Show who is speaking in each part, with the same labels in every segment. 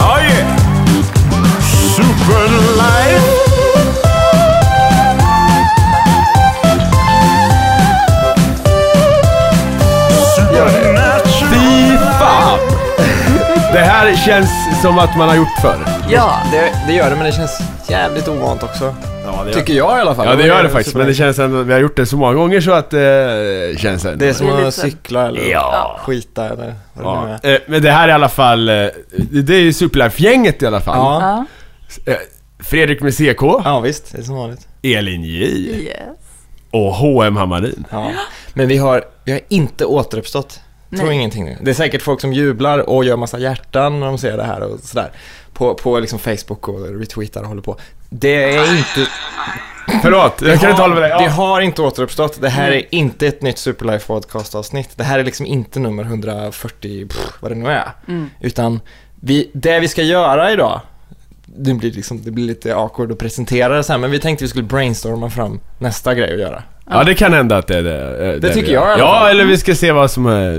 Speaker 1: Oh, känns som att man har gjort förr.
Speaker 2: Ja, det, det gör det, men det känns jävligt ovant också.
Speaker 1: Ja, det
Speaker 2: Tycker jag i alla fall.
Speaker 1: Ja det gör det faktiskt, men det känns ändå, vi har gjort det så många gånger så att det känns ändå.
Speaker 2: Det är som
Speaker 3: Det är
Speaker 2: att
Speaker 3: lite-
Speaker 2: cykla eller
Speaker 1: Ja.
Speaker 2: skita eller vad det nu
Speaker 1: ja.
Speaker 2: är.
Speaker 1: Eh, Men det här är i alla fall, eh, det det är ju Superlife-gänget i alla fall.
Speaker 2: Ja.
Speaker 3: Ja.
Speaker 1: Eh, Fredrik med CK,
Speaker 2: ja, visst. Det är som vanligt.
Speaker 1: Elin J
Speaker 3: Yes.
Speaker 1: och H.M. Hammarin.
Speaker 2: Ja. Men vi har, vi har inte återuppstått. Tror
Speaker 3: Nej.
Speaker 2: ingenting nu. Det är säkert folk som jublar och gör massa hjärtan när de ser det här och sådär. På, på liksom Facebook och retweetar och håller på. Det är inte...
Speaker 1: Förlåt, jag kan inte hålla med dig.
Speaker 2: Det
Speaker 1: Ja. Mm.
Speaker 2: har inte återuppstått. Det här är inte ett nytt Superlife Podcast-avsnitt. Det här är liksom inte nummer 140, pff, vad det nu är.
Speaker 1: Mm.
Speaker 2: Utan vi, det vi ska göra idag, det blir, liksom, det blir lite awkward att presentera det så här, men vi tänkte vi skulle brainstorma fram nästa grej att göra.
Speaker 1: ja det kan hända att det är det. eh, vi
Speaker 2: tycker
Speaker 1: gör.
Speaker 2: jag i alla
Speaker 1: Ja
Speaker 2: fall.
Speaker 1: eller vi ska se vad som är.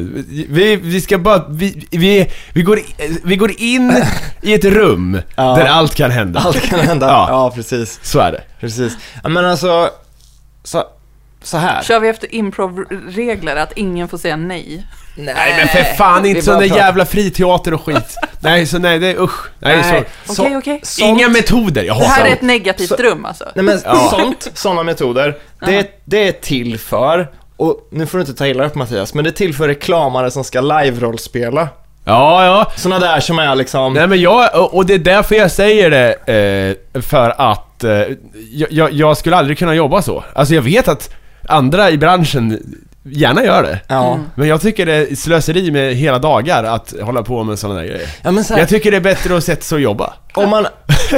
Speaker 1: Vi, vi ska bara, vi, vi, vi, går, i- eh, vi går in i ett rum
Speaker 2: Ja.
Speaker 1: där allt kan hända.
Speaker 2: Allt kan hända.
Speaker 1: Ja.
Speaker 2: ja. precis.
Speaker 1: Så är det.
Speaker 2: precis. Ja, Men alltså, så, så här.
Speaker 3: Kör vi efter improvregler att ingen får säga nej?
Speaker 1: Nej men för fan inte
Speaker 2: Det är
Speaker 1: sån
Speaker 2: bara
Speaker 1: där
Speaker 2: prat.
Speaker 1: jävla friteater och skit. nej så nej, det är usch. Nej,
Speaker 2: Nej,
Speaker 1: Så,
Speaker 2: så-
Speaker 3: Okej, okej.
Speaker 2: sånt-
Speaker 1: Inga metoder, jag
Speaker 3: Det
Speaker 1: hatar
Speaker 3: här är
Speaker 1: dem.
Speaker 3: ett negativt
Speaker 2: Så-
Speaker 3: rum alltså.
Speaker 2: Nej men
Speaker 1: Ja.
Speaker 2: sånt, sådana metoder, det, det är till för, och nu får du inte ta illa upp Mattias, men det är till för reklamare som ska live-rollspela.
Speaker 1: Ja, ja.
Speaker 2: Såna där som är liksom,
Speaker 1: Nej men jag, och- och det är därför jag säger det, eh, för att eh, jag- jag, jag skulle aldrig kunna jobba så. Alltså jag vet att andra i branschen gärna gör det.
Speaker 2: ja.
Speaker 1: Men jag tycker det är slöseri med hela dagar att hålla på med sådana där grejer.
Speaker 2: Ja men så
Speaker 1: Jag
Speaker 2: här,
Speaker 1: tycker det är bättre att sätta sig och jobba.
Speaker 2: om man,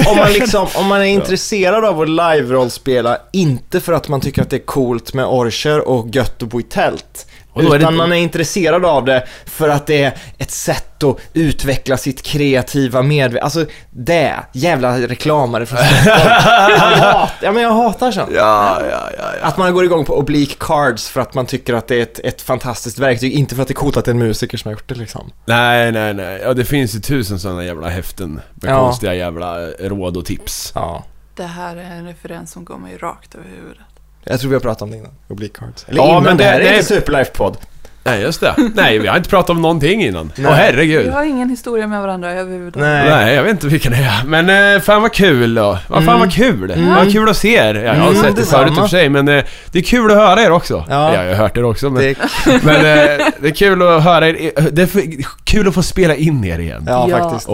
Speaker 2: om man liksom, om man är intresserad av att live-rollspela, inte för att man tycker att det är coolt med orcher och gött att bo i tält.
Speaker 1: Och då är det-
Speaker 2: utan man är intresserad av det för att det är ett sätt att utveckla sitt kreativa medvetande. Alltså det, jävla reklamare från Stockholm. Jag hat- Ja men jag hatar sånt.
Speaker 1: Ja, ja, ja,
Speaker 2: Att man går igång på oblique cards för att man tycker att det är ett, ett fantastiskt verktyg, inte för att det är coolt att det är en musiker som har gjort det liksom.
Speaker 1: Nej, nej, nej. Ja, det finns ju tusen sådana jävla häften med
Speaker 2: Ja.
Speaker 1: konstiga jävla råd och tips.
Speaker 2: Ja.
Speaker 3: Det här är en referens som går mig rakt över huvudet.
Speaker 2: Jag tror vi har pratat om det innan, oblique cards. Eller
Speaker 1: Ja,
Speaker 2: innan,
Speaker 1: men
Speaker 2: men
Speaker 1: det-
Speaker 2: det här
Speaker 1: det är-
Speaker 2: är inte Superlife-podd.
Speaker 1: Nej, just det. Nej, vi har inte pratat om någonting innan. Åh herregud.
Speaker 3: Vi har ingen historia med varandra överhuvudtaget.
Speaker 2: Nej.
Speaker 1: Nej, jag vet inte vilken det är. Men eh, fan vad kul då. Vad fan vad kul. Vad kul att se er. Ja, jag har
Speaker 2: Mm,
Speaker 1: sett det
Speaker 2: detsamma.
Speaker 1: förut i och för sig, men eh, det är kul att höra er också. Ja,
Speaker 2: Ja.
Speaker 1: jag har hört er också, men,
Speaker 2: Det är,
Speaker 1: men eh, det är kul att höra er. Det är för- kul att få spela in er igen. Åh.
Speaker 2: ja,
Speaker 3: Ja.
Speaker 2: faktiskt.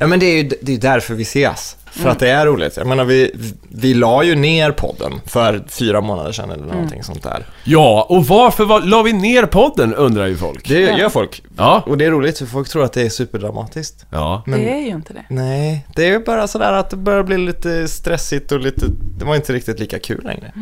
Speaker 2: Ja men det är ju det är ju därför vi ses. För att det är roligt. Jag menar vi, vi la ju ner podden för fyra månader sedan eller någonting sånt där.
Speaker 1: Ja, och varför var, la vi ner podden undrar ju folk.
Speaker 2: Det gör folk.
Speaker 1: Ja.
Speaker 2: Och det är roligt för folk tror att det är superdramatiskt.
Speaker 1: Ja.
Speaker 2: Men-
Speaker 3: Det är ju inte det.
Speaker 2: Nej, det är ju bara sådär att det börjar bli lite stressigt och lite, det var inte riktigt lika kul längre.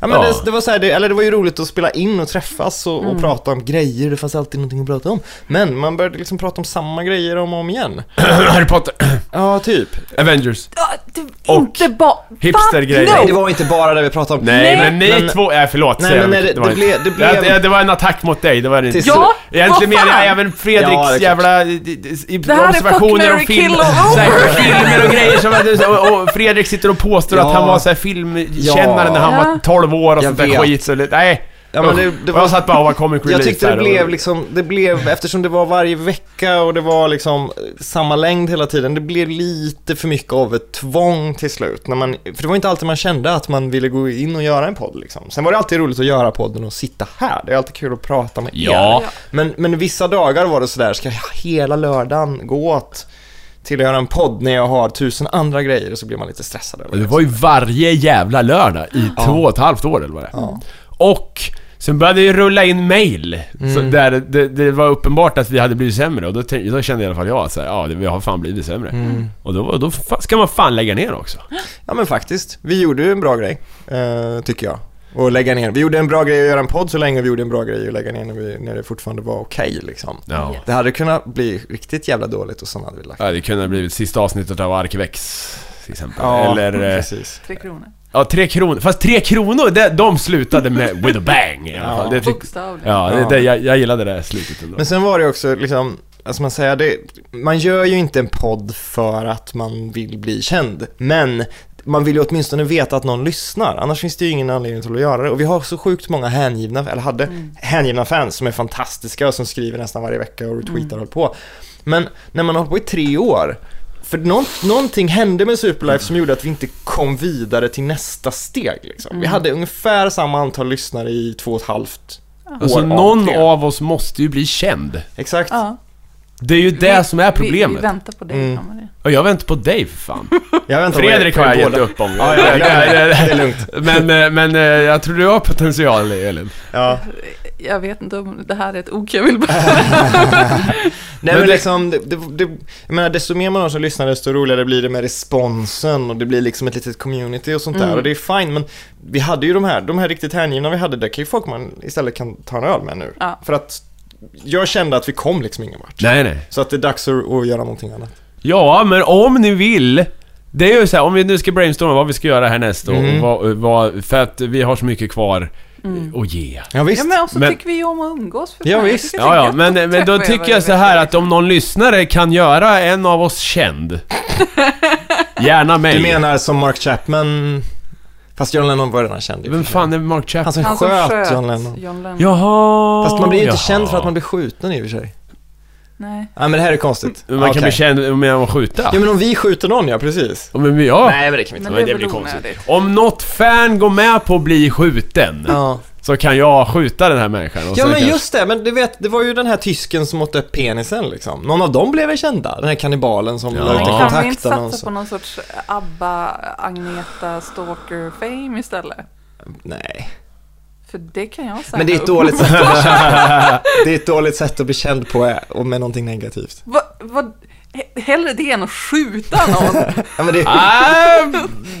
Speaker 2: Ja, men
Speaker 1: Ja.
Speaker 2: Det, det, var så här, det, eller det var ju roligt att spela in och träffas och, och prata om grejer, det fanns alltid någonting att prata om. Men man började liksom prata om samma grejer om och om igen.
Speaker 1: Harry Potter,
Speaker 2: Ja, typ.
Speaker 1: Avengers.
Speaker 3: Ja, det-
Speaker 1: Och
Speaker 3: inte bara...
Speaker 1: hipstergrejer.
Speaker 2: Nej, det
Speaker 3: No!
Speaker 2: var inte bara det vi pratade om.
Speaker 1: Oh. Nej, men ni
Speaker 2: Men-
Speaker 1: två, nej förlåt
Speaker 2: Nej,
Speaker 1: säger
Speaker 2: men
Speaker 1: jag.
Speaker 2: nej, det-
Speaker 1: var
Speaker 2: det
Speaker 1: inte-
Speaker 2: blev- det blev-
Speaker 1: Ja, det var en attack mot dig, det var det inte.
Speaker 2: Till
Speaker 3: Ja,
Speaker 1: Egentligen
Speaker 3: vad
Speaker 1: menar jag
Speaker 3: fan!
Speaker 1: även Fredriks
Speaker 2: Ja, det är klart.
Speaker 1: jävla eh, i- i-
Speaker 3: Det här är
Speaker 1: observationer
Speaker 3: fuck,
Speaker 1: och
Speaker 3: marry,
Speaker 1: film,
Speaker 3: kill och
Speaker 1: så här, filmer och grejer som att, och, och Fredrik sitter och påstår
Speaker 2: Ja.
Speaker 1: att han var så här filmkännare när han
Speaker 3: Ja.
Speaker 1: var 12 år och
Speaker 2: Jag
Speaker 1: sånt där
Speaker 2: vet.
Speaker 1: skit så det, nej.
Speaker 2: Ja, men det- det
Speaker 1: Och
Speaker 2: var-
Speaker 1: jag satt bara och var comic relief
Speaker 2: Jag tyckte det
Speaker 1: där och-
Speaker 2: blev liksom, det blev, eftersom det var varje vecka och det var liksom samma längd hela tiden, det blev lite för mycket av ett tvång till slut. När man, för det var inte alltid man kände att man ville gå in och göra en podd liksom. Sen var det alltid roligt att göra podden och sitta här, det är alltid kul att prata med
Speaker 1: Ja.
Speaker 2: er. Men, men vissa dagar var det sådär, ska hela lördagen gå åt till att göra en podd när jag har tusen andra grejer? Och så blir man lite stressad över
Speaker 1: Det var ju varje jävla lördag i två och ett halvt år eller vad det är. Och sen började det ju rulla in mail. Så
Speaker 2: Mm.
Speaker 1: där det, det var uppenbart att vi hade blivit sämre och då, tänk- då kände i alla fall jag att så här, ja, det- vi har fan blivit sämre. Och då, då fa- ska man fan lägga ner också.
Speaker 2: Mm. Ja men faktiskt, vi gjorde ju en bra grej, eh, tycker jag. Och lägga ner. Vi gjorde en bra grej att göra en podd så länge och vi gjorde en bra grej att lägga ner när, vi, när det fortfarande var okej liksom.
Speaker 1: Ja.
Speaker 2: Det hade kunnat bli riktigt jävla dåligt och sen hade vi lagt
Speaker 1: Ja, det kunde ha blivit sista avsnittet av Arkivex till exempel. Eller... eh,
Speaker 2: precis.
Speaker 3: Tre kronor.
Speaker 1: Ja, Tre Kronor. Fast Tre Kronor, det, de slutade med with a bang i alla fall. Det tyck-
Speaker 3: Bokstavligen.
Speaker 1: ja, det, det, jag, jag gillade det där slutet ändå.
Speaker 2: Men sen var det också liksom, alltså man säger, det, man gör ju inte en podd för att man vill bli känd, men man vill ju åtminstone veta att någon lyssnar, annars finns det ju ingen anledning till att göra det. Och vi har så sjukt många hängivna, eller hade hängivna fans som är fantastiska och som skriver nästan varje vecka och retweetar och håller på. Men när man har hållit på i tre år, för nå- någonting hände med Superlife som gjorde att vi inte kom vidare till nästa steg. Liksom. Vi hade ungefär samma antal lyssnare i två och ett halvt
Speaker 1: Alltså
Speaker 2: år av
Speaker 1: någon
Speaker 2: tre.
Speaker 1: av oss måste ju bli känd.
Speaker 2: Exakt.
Speaker 3: Ja.
Speaker 1: Det är ju det
Speaker 3: Vi-
Speaker 1: som är
Speaker 3: Vi, vi
Speaker 1: problemet.
Speaker 3: väntar på dig.
Speaker 2: Mm.
Speaker 3: Mm.
Speaker 1: Och jag väntar på dig för fan.
Speaker 2: Jag väntar på er-
Speaker 1: Fredrik
Speaker 2: på
Speaker 1: har
Speaker 2: er
Speaker 1: jag gett
Speaker 2: båda.
Speaker 1: upp om.
Speaker 2: Ja, ja, ja, ja, det är lugnt.
Speaker 1: Men, eh, men eh, jag tror du har potential Elin.
Speaker 2: Ja.
Speaker 3: Jag vet inte om det här är ett ok jag vill bara...
Speaker 2: Nej
Speaker 1: Men
Speaker 2: men,
Speaker 1: det-
Speaker 2: liksom, det, det, det, jag menar, desto mer man har som lyssnar desto roligare blir det med responsen och det blir liksom ett litet community och sånt där
Speaker 3: Mm.
Speaker 2: och det är fine men vi hade ju de här, de här riktigt hängivna vi hade, där kan ju folk man istället kan ta en öl med nu.
Speaker 3: Ja.
Speaker 2: För att jag kände att vi kom liksom ingen vart.
Speaker 1: Nej, nej.
Speaker 2: Så att det är dags att, att göra någonting annat.
Speaker 1: Ja, men om ni vill. Det är ju så här, om vi nu ska brainstorma vad vi ska göra härnäst och
Speaker 2: Mm.
Speaker 1: vad, vad, för att vi har så mycket kvar eh,
Speaker 3: Mm.
Speaker 1: att ge.
Speaker 2: Ja visst.
Speaker 3: Ja, men också
Speaker 1: Men-
Speaker 3: tycker vi ju om att umgås. För
Speaker 2: Ja,
Speaker 3: fan. Jag
Speaker 2: visst.
Speaker 3: tycker det är
Speaker 1: Ja, ja,
Speaker 3: gött
Speaker 1: men,
Speaker 3: att
Speaker 1: men
Speaker 3: träffa
Speaker 1: då
Speaker 3: er
Speaker 1: tycker
Speaker 3: varje
Speaker 1: jag så
Speaker 3: vecka,
Speaker 1: här
Speaker 3: liksom.
Speaker 1: att om någon lyssnare kan göra en av oss känd. Gärna mig.
Speaker 2: Du menar som Mark Chapman, fast John Lennon var redan känd.
Speaker 1: Vem fan är Mark Chapman?
Speaker 2: Han som
Speaker 3: Han som
Speaker 2: sköt,
Speaker 3: sköt
Speaker 2: John Lennon.
Speaker 3: John Lennon.
Speaker 1: Jaha!
Speaker 2: Alltså- Fast man blir ju inte
Speaker 1: Jaha.
Speaker 2: känd för att man blir skjuten i och för sig.
Speaker 3: Nej.
Speaker 2: Nej men det här är konstigt.
Speaker 1: Men Man kan
Speaker 2: Ah, Okej.
Speaker 1: bli känd med att skjuta.
Speaker 2: Ja men om vi skjuter någon ja, precis.
Speaker 1: Ja, men ja.
Speaker 2: Nej men det kan vi inte.
Speaker 1: Men
Speaker 3: Men det
Speaker 1: det
Speaker 3: är
Speaker 1: blir
Speaker 3: väl
Speaker 1: konstigt.
Speaker 3: onödigt.
Speaker 1: Om något fan går med på att bli skjuten
Speaker 2: Ja.
Speaker 1: så kan jag skjuta den här människan. Och
Speaker 2: ja
Speaker 1: sen
Speaker 2: men
Speaker 1: kan-
Speaker 2: just det, men du vet, det var ju den här tysken som åt upp penisen liksom. Någon av dem blev väl kända? Den här kannibalen som
Speaker 1: Ja.
Speaker 2: la ut
Speaker 3: Men
Speaker 2: en
Speaker 1: Ja.
Speaker 3: kan vi inte
Speaker 2: kontaktannons.
Speaker 3: satsa på någon sorts ABBA, Agneta, Stalker, Fame istället?
Speaker 2: Nej.
Speaker 3: För det kan jag säga.
Speaker 2: Men det är ett dåligt sätt att bli känd. Det är ett dåligt sätt att bli känd på eh, och med någonting negativt.
Speaker 3: Vad, vad, he- hellre det än att skjuta någon.
Speaker 2: Ja, men det,
Speaker 1: Ah,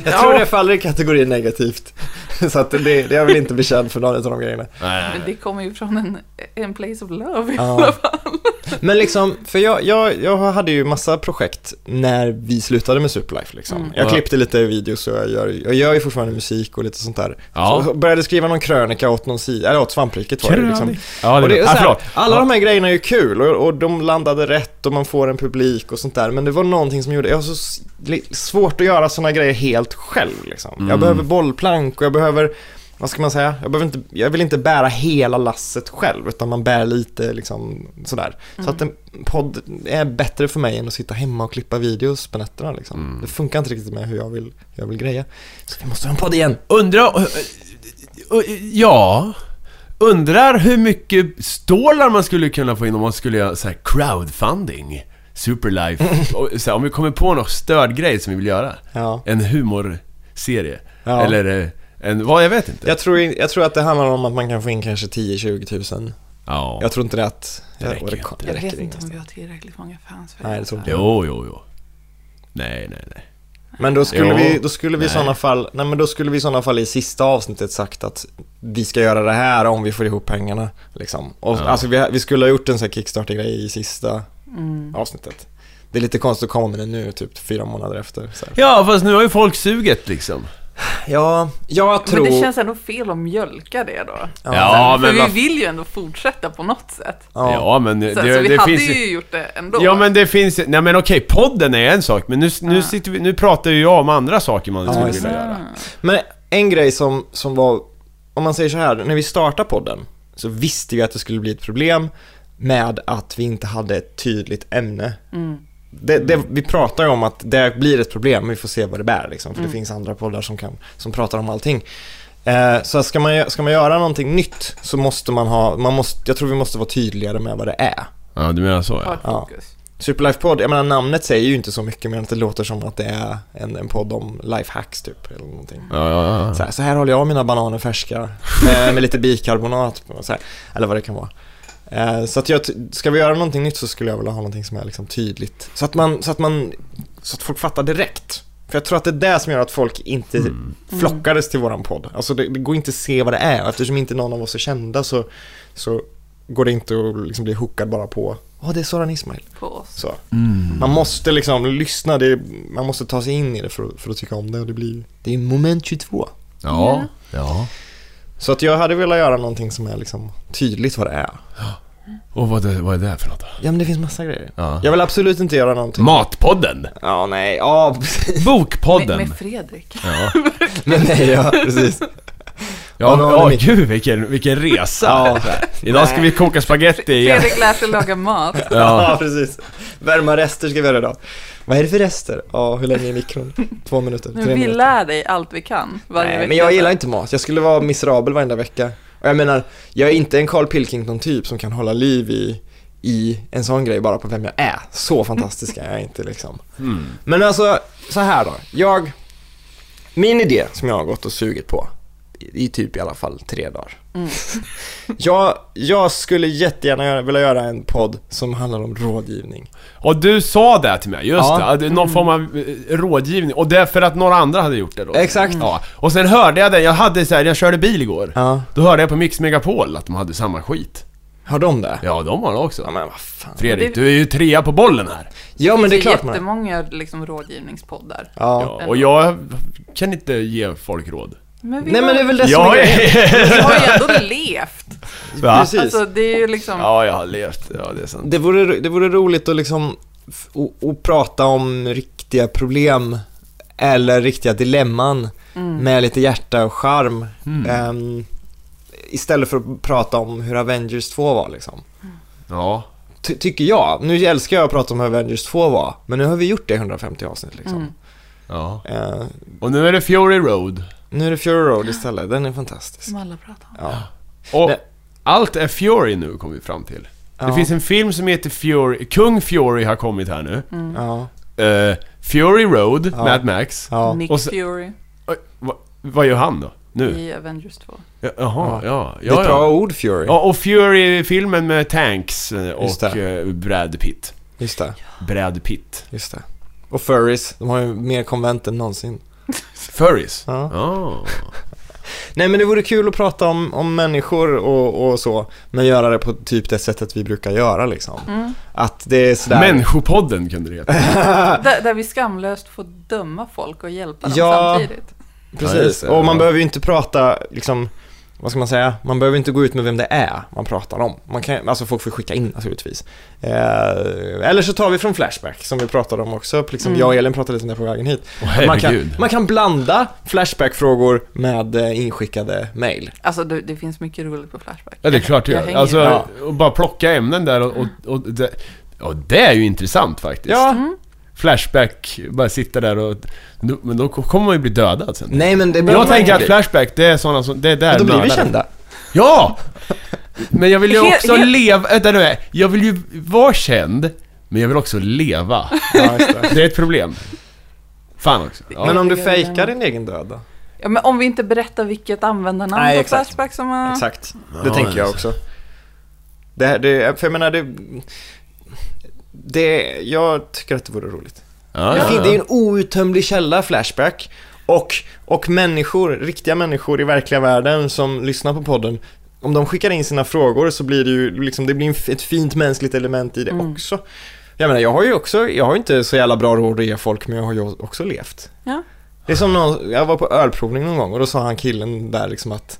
Speaker 2: jag tror det faller i kategorin negativt. Så att det, det, jag vill inte bli känd för någon av de grejerna.
Speaker 1: Nej.
Speaker 3: Men det kommer ju från en, en place of love.
Speaker 2: Ja. Men liksom, för jag, jag, jag hade ju massa projekt när vi slutade med Superlife liksom.
Speaker 3: Mm.
Speaker 2: Jag
Speaker 1: Ja.
Speaker 2: klippte lite videos och jag gör, jag gör ju fortfarande musik och lite sånt där.
Speaker 1: Ja.
Speaker 2: Så började skriva någon krönika åt någon sida, eller åt svampriket var det ju liksom.
Speaker 1: Ja, det,
Speaker 2: Och det är
Speaker 1: ah,
Speaker 2: så här,
Speaker 1: förlåt.
Speaker 2: alla
Speaker 1: Ja.
Speaker 2: de här grejerna är ju kul och, och de landade rätt och man får en publik och sånt där. Men det var någonting som gjorde, jag har så s- li- svårt att göra såna grejer helt själv liksom.
Speaker 1: Mm.
Speaker 2: Jag behöver bollplank och jag behöver, vad ska man säga, jag, behöver inte, jag vill inte bära hela lasset själv utan man bär lite liksom sådär. Så att en podd är bättre för mig än att sitta hemma och klippa videos på nätterna liksom. Det funkar inte riktigt med hur jag vill, hur jag vill greja. Så vi måste ha en podd igen.
Speaker 1: Undra... ö, ö, ö, Ja... Undrar hur mycket stålar man skulle kunna få in om man skulle göra så här crowdfunding. Superlife. Och så här, om vi kommer på någon stödgrej som vi vill göra.
Speaker 2: Ja.
Speaker 1: En humorserie.
Speaker 2: Ja.
Speaker 1: Eller eh, en... Vad? Jag vet inte.
Speaker 2: Jag tror, jag tror att det handlar om att man kan få in kanske 10-20 000
Speaker 1: Ja.
Speaker 2: Jag tror inte det att...
Speaker 1: Det räcker
Speaker 2: och
Speaker 1: ju
Speaker 2: kom-
Speaker 1: inte.
Speaker 2: det
Speaker 3: Jag vet
Speaker 2: räcker
Speaker 3: inte
Speaker 2: inte.
Speaker 3: om vi har tillräckligt många fans för
Speaker 2: Nej, det
Speaker 3: det.
Speaker 2: tror inte jag.
Speaker 1: Jo, jo, jo. Nej, nej, nej.
Speaker 2: Men då skulle
Speaker 1: Jo.
Speaker 2: vi, då skulle vi i
Speaker 1: Nej.
Speaker 2: sådana fall, nej men då skulle vi i sådana fall i sista avsnittet sagt att vi ska göra det här om vi får ihop pengarna. Liksom. Och,
Speaker 1: Ja.
Speaker 2: Alltså vi, vi skulle ha gjort en sån här Kickstarter-grej i sista
Speaker 3: Mm.
Speaker 2: avsnittet. Det är lite konstigt att komma med det nu, typ fyra månader efter. Så här.
Speaker 1: Ja, fast nu har ju folk suget liksom.
Speaker 2: Ja, jag tror...
Speaker 3: Men det känns ändå fel att mjölka det då.
Speaker 2: Ja.
Speaker 1: Ja,
Speaker 3: för
Speaker 1: men vad-
Speaker 3: vi vill ju ändå fortsätta på något sätt.
Speaker 1: Ja,
Speaker 2: ja.
Speaker 1: men det,
Speaker 3: Så, så vi
Speaker 1: det
Speaker 3: hade
Speaker 1: finns
Speaker 3: ju gjort det ändå.
Speaker 1: Ja men det finns Nej men okej, podden är en sak men nu, nu,
Speaker 3: Ja.
Speaker 1: sitter vi, nu pratar ju jag om andra saker man
Speaker 2: Ja,
Speaker 1: skulle
Speaker 2: just
Speaker 1: vilja
Speaker 2: det.
Speaker 1: göra.
Speaker 2: Men en grej som, som var, om man säger så här, när vi startade podden så visste vi att det skulle bli ett problem med att vi inte hade ett tydligt ämne.
Speaker 3: Mm.
Speaker 2: Det, det, vi pratar ju om att det blir ett problem, vi får se vad det bär liksom, för det finns andra poddar som, kan, som pratar om allting. Eh, så ska man, gö- ska man göra någonting nytt så måste man ha, man måste, jag tror vi måste vara tydligare med vad det är.
Speaker 1: Ja du menar så
Speaker 3: Ha
Speaker 1: ja.
Speaker 3: ett
Speaker 2: Ja.
Speaker 3: fokus.
Speaker 2: Superlife-podd, jag menar namnet säger ju inte så mycket men att det låter som att det är en, en podd om lifehacks typ, eller någonting.
Speaker 1: Ja, ja,
Speaker 2: Så
Speaker 1: ja.
Speaker 2: här, så här håller jag mina bananer färska med, med lite bikarbonat på, så här, eller vad det kan vara. Eh, Så att jag, ty- ska vi göra någonting nytt så skulle jag vilja ha någonting som är liksom tydligt. Så att man, så att man, så att folk fattar direkt. För jag tror att det är det som gör att folk inte flockades till våran podd. Alltså det, det går inte att se vad det är och eftersom inte någon av oss är kända så, så går det inte att liksom bli hookad bara på, ja det är Soran Ismail.
Speaker 3: på oss.
Speaker 2: Så. Man måste liksom lyssna, det, man måste ta sig in i det för, att- för att tycka om det och det blir, det är moment 22.
Speaker 1: Ja, ja.
Speaker 2: Så att jag hade velat göra någonting som är liksom tydligt vad det är.
Speaker 1: Och vad, det- vad är det för något då?
Speaker 2: Ja men det finns massa grejer.
Speaker 1: Ja.
Speaker 2: Jag vill absolut inte göra någonting.
Speaker 1: Matpodden!
Speaker 2: Ja nej, ja precis.
Speaker 1: Bokpodden!
Speaker 3: Med, med Fredrik.
Speaker 1: Ja,
Speaker 2: Men nej, ja precis.
Speaker 1: ja,
Speaker 2: Och då
Speaker 1: ja
Speaker 2: har ni-
Speaker 1: gud vilken, vilken resa!
Speaker 2: Ja.
Speaker 1: Idag ska vi koka spaghetti igen.
Speaker 3: Fredrik lär sig laga mat.
Speaker 1: Ja.
Speaker 2: precis. Värma rester ska vi göra idag. Vad är det för rester? Ja, hur länge i mikron? Två minuter,
Speaker 3: Nu
Speaker 2: tre
Speaker 3: vi
Speaker 2: minuter.
Speaker 3: lär dig allt vi kan varje
Speaker 2: Nej,
Speaker 3: vecka.
Speaker 2: men jag gillar inte mat. Jag skulle vara miserabel varenda vecka. Och jag menar, jag är inte en Carl Pilkington-typ som kan hålla liv i, i en sån grej bara på vem jag är. Så fantastisk är jag inte liksom.
Speaker 1: Mm.
Speaker 2: Men alltså, så här då. Jag, min idé som jag har gått och sugit på i i typ i alla fall tre dagar.
Speaker 3: Mm.
Speaker 2: jag, jag skulle jättegärna göra, vilja göra en podd som handlar om rådgivning.
Speaker 1: Och du sa det till mig, just
Speaker 2: Ja.
Speaker 1: det. Att det. är Någon form av eh, rådgivning. Och det är för att några andra hade gjort det då.
Speaker 2: Exakt.
Speaker 1: Ja. Och sen hörde jag den, jag hade så här, jag körde bil igår.
Speaker 2: Ja.
Speaker 1: Då hörde jag på Mix Megapol att de hade samma skit.
Speaker 2: Har de det?
Speaker 1: Ja, de har det
Speaker 2: Ja,
Speaker 1: också.
Speaker 2: men vad fan.
Speaker 1: Fredrik,
Speaker 3: Det-
Speaker 1: du är ju trea på bollen här.
Speaker 2: Ja, men det är
Speaker 3: finns ju
Speaker 2: klart man
Speaker 3: jättemånga liksom, rådgivningspoddar.
Speaker 2: ja.
Speaker 1: Ja, och jag kan inte ge folk råd.
Speaker 3: Men vi
Speaker 2: Nej, men det är väl det som
Speaker 1: Jag
Speaker 2: är grejen.
Speaker 1: är...
Speaker 3: vi har ju ändå levt.
Speaker 1: Va?
Speaker 2: Precis.
Speaker 3: Alltså, det är ju liksom...
Speaker 1: Ja, jag har levt. Ja, det är sant.
Speaker 2: Det vore, det vore roligt att liksom f- o- och prata om riktiga problem eller riktiga dilemman med lite hjärta och charm.
Speaker 1: Mm.
Speaker 2: Ehm, istället för att prata om hur Avengers 2 var liksom.
Speaker 1: Ja.
Speaker 2: Ty- tycker jag. Nu älskar jag att prata om hur Avengers 2 var, men nu har vi gjort det i 150 avsnitt liksom.
Speaker 3: Mm.
Speaker 1: Ja.
Speaker 2: Ehm,
Speaker 1: Och nu är det Fury Road.
Speaker 2: nu är det Fury Road istället, den är fantastisk.
Speaker 3: Som alla pratar om.
Speaker 2: Ja.
Speaker 1: Och
Speaker 2: Nej.
Speaker 1: allt är Fury nu, kom vi fram till. Det
Speaker 2: Ja.
Speaker 1: finns en film som heter Fury, Kung Fury har kommit här nu.
Speaker 2: Ja.
Speaker 1: Eh, Fury Road,
Speaker 2: Ja.
Speaker 1: Mad Max.
Speaker 2: Ja.
Speaker 3: Nick
Speaker 1: Och så-
Speaker 3: Fury
Speaker 1: Oj, va, vad gör han då? Nu?
Speaker 3: i Avengers 2.
Speaker 1: Ja, Jaha,
Speaker 2: Ja.
Speaker 1: ja.
Speaker 2: Det är
Speaker 1: Ja,
Speaker 2: ett bra
Speaker 1: ja.
Speaker 2: ord Fury.
Speaker 1: ja och Fury-filmen med Tanks eh,
Speaker 2: Just
Speaker 1: och
Speaker 2: det.
Speaker 1: eh, Brad Pitt.
Speaker 2: Just det,
Speaker 1: Brad Pitt.
Speaker 2: just det. Och Furries, de har ju mer konvent än någonsin.
Speaker 1: Furries?
Speaker 2: Ja.
Speaker 1: Ah.
Speaker 2: Nej men det vore kul att prata om, om människor och, och så, men göra det på typ det sättet vi brukar göra liksom. Att det är sådär...
Speaker 1: Människopodden kunde det heta.
Speaker 3: Där, där vi skamlöst får döma folk och hjälpa dem
Speaker 2: Ja.
Speaker 3: samtidigt.
Speaker 1: Ja, just
Speaker 2: Precis,
Speaker 1: det,
Speaker 2: och man
Speaker 1: ja.
Speaker 2: behöver ju inte prata liksom, vad ska man säga, man behöver inte gå ut med vem det är man pratar om. Man kan, alltså folk får skicka in naturligtvis. Eh, eller så tar vi från Flashback som vi pratade om också, liksom, jag och Elin pratade lite om det på vägen hit.
Speaker 1: Åh,
Speaker 2: man, kan,
Speaker 1: herregud.
Speaker 2: man kan blanda Flashback-frågor med eh, inskickade mail.
Speaker 3: Alltså, det, det finns mycket roligt på Flashback.
Speaker 1: Ja, det är klart det
Speaker 3: Jag
Speaker 1: gör.
Speaker 3: hänger
Speaker 1: Alltså,
Speaker 2: med.
Speaker 1: och bara plocka ämnen där och... och, och det, ja, det är ju intressant faktiskt.
Speaker 2: Ja,
Speaker 1: Flashback, bara sitta där och... Men då kommer man ju bli dödad sen.
Speaker 2: nej men det
Speaker 1: Jag
Speaker 2: behöver man
Speaker 1: tänker
Speaker 2: inte
Speaker 1: att
Speaker 2: bli.
Speaker 1: Flashback, det är sådana som... Det är där
Speaker 2: Men Då blir vi
Speaker 1: mördaren-
Speaker 2: kända.
Speaker 1: Ja! Men jag vill ju
Speaker 3: He-
Speaker 1: också
Speaker 3: he-
Speaker 1: leva... Vänta nu, jag vill ju vara känd, men jag vill också leva.
Speaker 2: Ja, just det.
Speaker 1: Det är ett problem. Fan också. Ja.
Speaker 2: Men om du
Speaker 3: Jag tycker det är
Speaker 2: fejkar din egen död då?
Speaker 3: Ja, men om vi inte berättar vilket användarnamn
Speaker 2: Nej,
Speaker 3: på
Speaker 2: exakt.
Speaker 3: Flashback som eh, har...
Speaker 2: Exakt, det
Speaker 1: Ja,
Speaker 2: tänker jag
Speaker 1: just
Speaker 2: också. Det, här- det, för jag menar, det, det... Jag tycker att det vore roligt.
Speaker 1: Ja,
Speaker 2: Det
Speaker 1: ja,
Speaker 2: fin-
Speaker 1: ja.
Speaker 2: Det är ju en outtömlig källa, Flashback. Och, och människor, riktiga människor i verkliga världen som lyssnar på podden. Om de skickar in sina frågor så blir det ju liksom, det blir en f- ett fint mänskligt element i det
Speaker 3: Mm.
Speaker 2: också. Jag menar, jag har ju också, jag har ju inte så jävla bra råd att ge folk, men jag har ju också levt.
Speaker 3: Ja.
Speaker 2: Det är som någon, jag var på ölprovning någon gång och då sa han killen där liksom att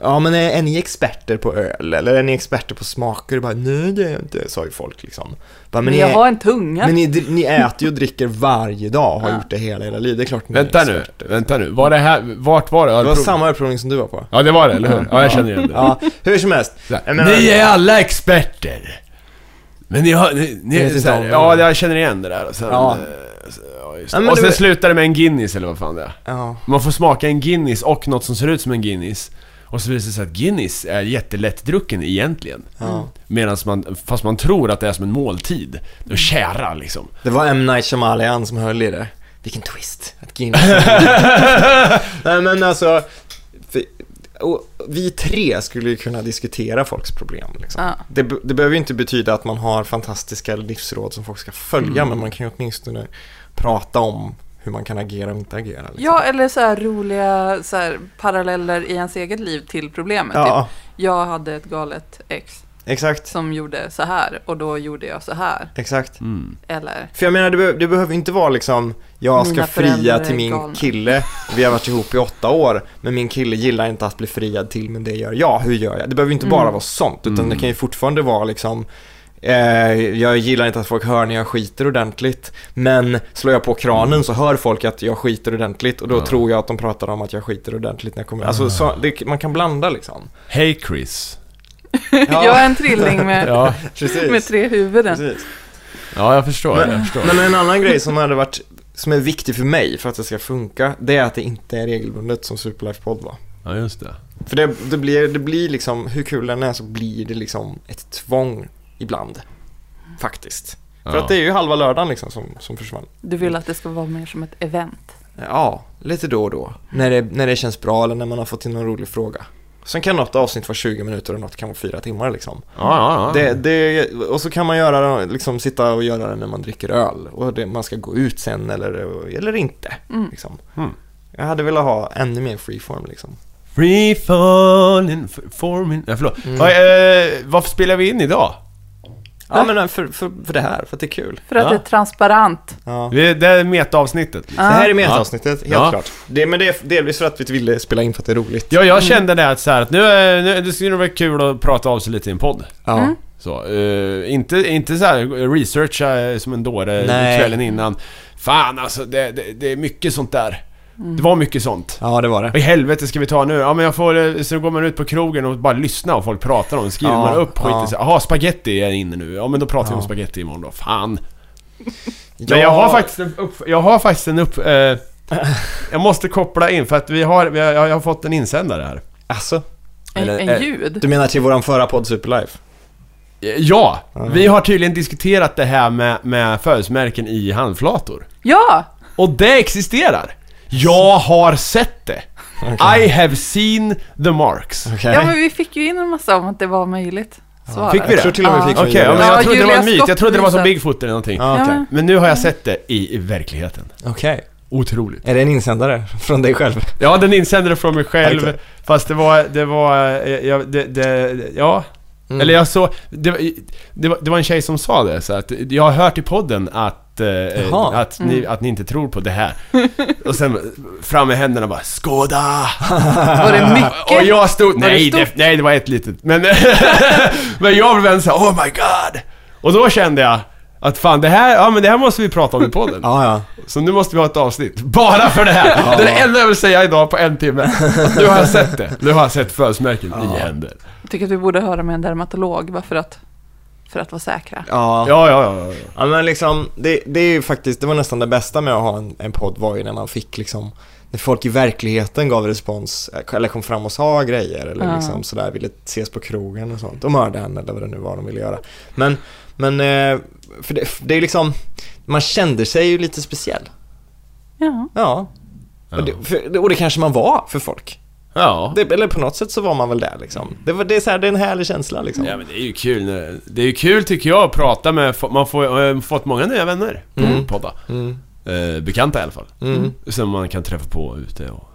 Speaker 2: Ja men är, är ni experter på öl eller är ni experter på smaker? Och bara, Nej det är jag inte, sa ju folk liksom. Bara,
Speaker 3: Men
Speaker 2: ni
Speaker 3: jag
Speaker 2: är-
Speaker 3: har en tunga.
Speaker 2: men ni, dr- ni äter ju och dricker varje dag och har
Speaker 3: Ja.
Speaker 2: gjort det hela era liv. Det är klart ni
Speaker 1: Vänta
Speaker 2: är
Speaker 1: nu,
Speaker 2: experter.
Speaker 1: vänta nu. Var det här... Vart var det?
Speaker 2: Det var samma ölprovning som du var på.
Speaker 1: Ja, det var det, eller hur? Ja, jag känner igen det.
Speaker 2: Ja, hur som helst.
Speaker 1: Så här,
Speaker 2: Jag menar-
Speaker 1: ni är alla experter. Men ni har... Ni, ni,
Speaker 2: Jag vet inte
Speaker 1: så här,
Speaker 2: om det.
Speaker 1: ja, jag känner igen det där. Och sen,
Speaker 2: Ja.
Speaker 1: ja. Ja, just
Speaker 2: Ja,
Speaker 1: det.
Speaker 2: men
Speaker 1: och
Speaker 2: det
Speaker 1: sen
Speaker 2: var-
Speaker 1: slutar det med en Guinness eller vad fan det är.
Speaker 2: Ja.
Speaker 1: Man får smaka en Guinness och något som ser ut som en Guinness. Och så visar det sig att Guinness är jättelättdrucken egentligen.
Speaker 2: ja.
Speaker 1: Medan man, fast man tror att det är som en måltid. Det kära liksom.
Speaker 2: Det var M. Night Shyamalan som höll i det. Vilken twist. Att Guinness... Nej men alltså... För, och vi tre skulle ju kunna diskutera folks problem liksom.
Speaker 3: Ja.
Speaker 2: Det, be- det behöver ju inte betyda att man har fantastiska livsråd som folk ska följa,
Speaker 3: Mm.
Speaker 2: men man kan ju åtminstone prata om hur man kan agera och inte agera. Liksom.
Speaker 3: Ja, eller så här roliga så här, paralleller i ens eget liv till problemet. Typ.
Speaker 2: ja,
Speaker 3: Jag hade ett galet ex
Speaker 2: exakt.
Speaker 3: som gjorde så här och då gjorde jag så här.
Speaker 2: Exakt.
Speaker 1: Mm.
Speaker 3: Eller,
Speaker 2: För jag menar, det, be- det behöver inte vara liksom, jag ska
Speaker 3: Mina
Speaker 2: fria
Speaker 3: föräldrar
Speaker 2: till
Speaker 3: är
Speaker 2: min
Speaker 3: galna.
Speaker 2: kille, vi har varit ihop i åtta år, men min kille gillar inte att bli friad till, men det gör jag, hur gör jag? Det behöver ju inte bara
Speaker 3: Mm.
Speaker 2: vara sånt, utan
Speaker 1: Mm.
Speaker 2: det kan ju fortfarande vara liksom, eh, jag gillar inte att folk hör när jag skiter ordentligt, men slår jag på kranen så hör folk att jag skiter ordentligt och då
Speaker 1: Mm. Ja. Ah.
Speaker 2: tror jag att de pratar om att jag skiter ordentligt när jag kommer, alltså så, det, man kan blanda liksom.
Speaker 1: Hej Chris.
Speaker 2: Ja.
Speaker 3: jag är en trilling med,
Speaker 1: Ja.
Speaker 2: Precis.
Speaker 3: med tre huvuden.
Speaker 2: Precis.
Speaker 1: Ja, jag förstår. jag
Speaker 2: Men,
Speaker 1: förstår.
Speaker 2: men en annan grej som hade varit, som är viktig för mig för att det ska funka, det är att det inte är regelbundet som Superlife Podd var.
Speaker 1: Ja, just det.
Speaker 2: För det, det, blir, det blir liksom, hur kul den är så blir det liksom ett tvång ibland. Faktiskt.
Speaker 1: Ja.
Speaker 2: För att det är ju halva lördagen liksom som, som försvann.
Speaker 3: Du vill att det ska vara mer som ett event.
Speaker 2: Ja, lite då och då. När det, när det känns bra eller när man har fått in någon rolig fråga. Sen kan något avsnitt vara 20 minuter och något kan vara 4 timmar liksom.
Speaker 1: Ja, ja, ja.
Speaker 2: Det, det, och så kan man göra, liksom sitta och göra det när man dricker öl och det, man ska gå ut sen eller, eller inte.
Speaker 3: Mm.
Speaker 2: Liksom.
Speaker 1: Mm.
Speaker 2: Jag hade velat ha ännu mer freeform liksom.
Speaker 1: Free falling, f- forming... Nej, förlåt.
Speaker 2: Mm.
Speaker 1: Oj, eh, varför spelar vi in idag?
Speaker 2: Ja men för, för, för det här, för att det är kul.
Speaker 3: För att
Speaker 1: Ja.
Speaker 3: det är transparent.
Speaker 2: Ja.
Speaker 1: Vi- Det är metaavsnittet. liksom.
Speaker 2: Det här är
Speaker 1: Ja.
Speaker 2: metaavsnittet, helt
Speaker 1: Ja.
Speaker 2: klart. Det, men det är delvis för att vi ville spela in för att det är roligt.
Speaker 1: Ja, jag kände det att så här, att nu, eh, nu det skulle nog vara kul att prata av sig lite i en podd.
Speaker 2: Ja.
Speaker 3: Mm.
Speaker 1: Så, eh, inte, inte så här researcha eh, som en dåre
Speaker 2: Nej.
Speaker 1: kvällen innan. Fan alltså, det, det, det är mycket sånt där. Det var mycket sånt.
Speaker 2: ja, det var det.
Speaker 1: Vad i helvete ska vi ta nu? Ja men jag får, eh, så går man ut på krogen och bara lyssnar och folk pratar om det. Skriver
Speaker 2: Ja,
Speaker 1: man upp skit
Speaker 2: ja.
Speaker 1: ja. Jaha, spaghetti är inne nu. Ja men då pratar vi om
Speaker 2: Ja.
Speaker 1: spaghetti imorgon då. Fan. Men jag har faktiskt en upp... Jag har faktiskt en upp... Eh, jag måste koppla in för att vi har... Vi har jag har fått en insändare här.
Speaker 2: Alltså,
Speaker 3: En,
Speaker 1: Eller,
Speaker 3: en
Speaker 1: eh,
Speaker 3: ljud.
Speaker 2: du menar till våran förra podd Superlife?
Speaker 1: Ja!
Speaker 2: Ja.
Speaker 1: Vi har tydligen diskuterat det här med, med födelsemärken i handflator.
Speaker 3: Ja!
Speaker 1: Och det existerar! Jag har sett det! I have seen the marks.
Speaker 2: Okej.
Speaker 3: Ja, men vi fick ju in en massa om att det var möjligt. Svar.
Speaker 1: Fick vi
Speaker 2: Jag
Speaker 1: det?
Speaker 2: tror till och med vi
Speaker 3: Ja.
Speaker 2: fick från
Speaker 1: Okej, ja, men jag trodde det
Speaker 2: Julia.
Speaker 3: Ja,
Speaker 1: var en
Speaker 3: Julia
Speaker 1: myt. Jag trodde det var som
Speaker 3: Scott-mysen.
Speaker 1: Bigfoot eller någonting.
Speaker 2: Ja, okej.
Speaker 3: Ja.
Speaker 1: Men nu har jag sett det i, i verkligheten.
Speaker 2: Okej.
Speaker 1: Otroligt.
Speaker 2: Är det en insändare från dig själv?
Speaker 1: Ja, den insändare från mig
Speaker 2: Ja,
Speaker 1: själv.
Speaker 2: exakt.
Speaker 1: Fast det var, det var, eh, jag, det, det, ja.
Speaker 2: Mm.
Speaker 1: Eller jag såg, det, var- det, var, det var en tjej som sa det, så att jag har hört i podden att, eh,
Speaker 2: Jaha.
Speaker 1: att, ni, att ni inte tror på det här. Och sen fram med händerna och bara skåda!
Speaker 3: Var det mycket?
Speaker 1: Och jag stod,
Speaker 3: Var det
Speaker 1: nej det,
Speaker 3: stort?
Speaker 1: nej det var ett litet, men, men jag blev vän såhär, oh my god! Och då kände jag att fan det här, ja men det här måste vi prata om i podden.
Speaker 2: Ja, ja.
Speaker 1: Så nu måste vi ha ett avsnitt, bara för det här! Det är det enda jag vill säga idag på en timme. Nu har jag sett det, nu har jag sett födelsemärken i händer.
Speaker 3: Jag tycker att vi borde höra med en dermatolog, bara för att, för att vara säkra.
Speaker 2: Ja,
Speaker 1: Ja, ja, ja. ja.
Speaker 2: ja men liksom, det, det är ju faktiskt, det var nästan det bästa med att ha en, en podd var ju när man fick liksom, när folk i verkligheten gav respons, eh, eller kom fram och sa grejer eller
Speaker 3: Ja.
Speaker 2: liksom sådär, ville ses på krogen och sånt, och mörda henne eller vad det nu var de ville göra. Men, men, eh, för det, det är liksom, man kände sig ju lite speciell.
Speaker 3: Ja.
Speaker 2: Ja. Och, det, för, och det kanske man var för folk.
Speaker 1: Ja.
Speaker 2: Det, eller på något sätt så var man väl där liksom. Det, var, det, är så här, det är en härlig känsla liksom.
Speaker 1: Ja men det är ju kul när, Det är ju kul tycker jag att prata med, fo- man får, jag har fått många nya vänner på
Speaker 2: Mm.
Speaker 1: poddar.
Speaker 2: Mm.
Speaker 1: Eh, bekanta i alla fall.
Speaker 2: Mm.
Speaker 1: Som man kan träffa på ute och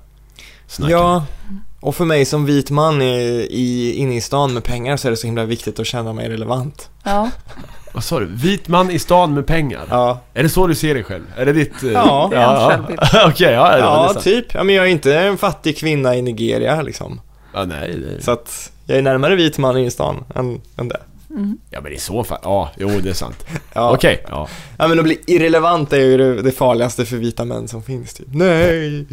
Speaker 1: snacka.
Speaker 2: Ja, och för mig som vit man i, i, inne i stan med pengar så är det så himla viktigt att känna mig relevant.
Speaker 3: ja.
Speaker 1: Vad sa du? Vit man i stan med pengar?
Speaker 2: Ja,
Speaker 1: Är det så du ser dig själv? Är det ditt... eh,
Speaker 2: Ja,
Speaker 3: det är hans
Speaker 1: Okej,
Speaker 3: självbild.
Speaker 1: ja, ja, det var
Speaker 2: ja
Speaker 1: nästan-
Speaker 2: typ. Ja, men jag är inte en fattig kvinna i Nigeria liksom.
Speaker 1: ja, nej, nej.
Speaker 2: Så att jag är närmare vit man i stan än, än det.
Speaker 1: Ja men i så fall, ja, jo det är sant.
Speaker 2: Ja.
Speaker 1: Okej, ja.
Speaker 2: ja, men att bli irrelevant är ju det, det farligaste för vita män som finns typ. Nej,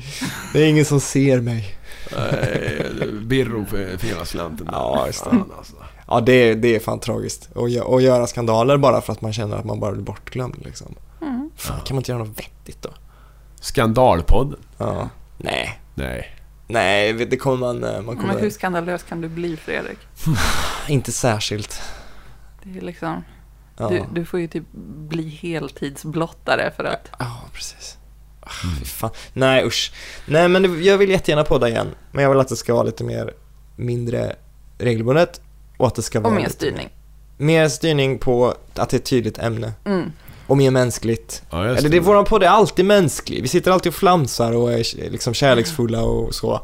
Speaker 2: det är ingen som ser mig.
Speaker 1: Eh, Birro för för hela slanten. där.
Speaker 2: Ja, just det.
Speaker 1: Fan, alltså.
Speaker 2: Ja, det, är- det är fan tragiskt. Och, gö- och göra skandaler bara för att man känner att man bara blir bortglömd liksom.
Speaker 3: Mm.
Speaker 2: Fan, kan man inte göra något vettigt då?
Speaker 1: Skandalpodden.
Speaker 2: Ja. Nej.
Speaker 1: Nej.
Speaker 2: Nej, det kommer man, eh, man kommer Ah,
Speaker 3: Men hur skandalös kan du bli, Fredrik?
Speaker 2: inte särskilt.
Speaker 3: Det är liksom,
Speaker 2: Ja,
Speaker 3: du, du får ju typ bli heltidsblottare för att...
Speaker 2: ja precis. Ah, fy fan. Nej usch. Nej men det, jag vill jättegärna podda igen. Men jag vill att det ska vara lite mer, mindre regelbundet. Och att det ska
Speaker 3: Och
Speaker 2: vara
Speaker 3: mer
Speaker 2: lite
Speaker 3: styrning.
Speaker 2: Mer, mer styrning på att det är ett tydligt ämne.
Speaker 3: Mm.
Speaker 2: Och mer mänskligt.
Speaker 1: Ja, just
Speaker 2: Eller det, våran podd är alltid mänsklig. Vi sitter alltid och flamsar och är liksom kärleksfulla och så.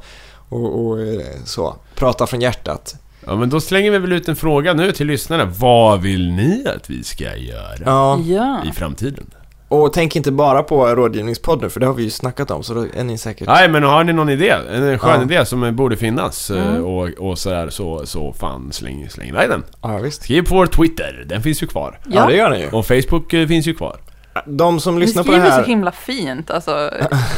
Speaker 2: Och, och eh, så. Pratar från hjärtat.
Speaker 1: Ja men då slänger vi väl ut en fråga nu till lyssnarna. Vad vill ni att vi ska göra
Speaker 2: Ja.
Speaker 3: Ja.
Speaker 1: i framtiden?
Speaker 2: Och tänk inte bara på rådgivningspodden, för det har vi ju snackat om, så då är ni säkert...
Speaker 1: Nej men har ni någon idé? En skön
Speaker 2: Ja.
Speaker 1: idé som eh, borde finnas eh,
Speaker 3: Mm.
Speaker 1: och, och sådär så, så fan släng, släng iväg den.
Speaker 2: Ja, visst.
Speaker 1: Skriv på vår Twitter, den finns ju kvar.
Speaker 2: Ja, det gör ni ju.
Speaker 1: Och Facebook eh, finns ju kvar.
Speaker 2: De som
Speaker 3: Ni
Speaker 2: lyssnar på det
Speaker 3: skriver så
Speaker 2: här,
Speaker 3: himla fint. Alltså,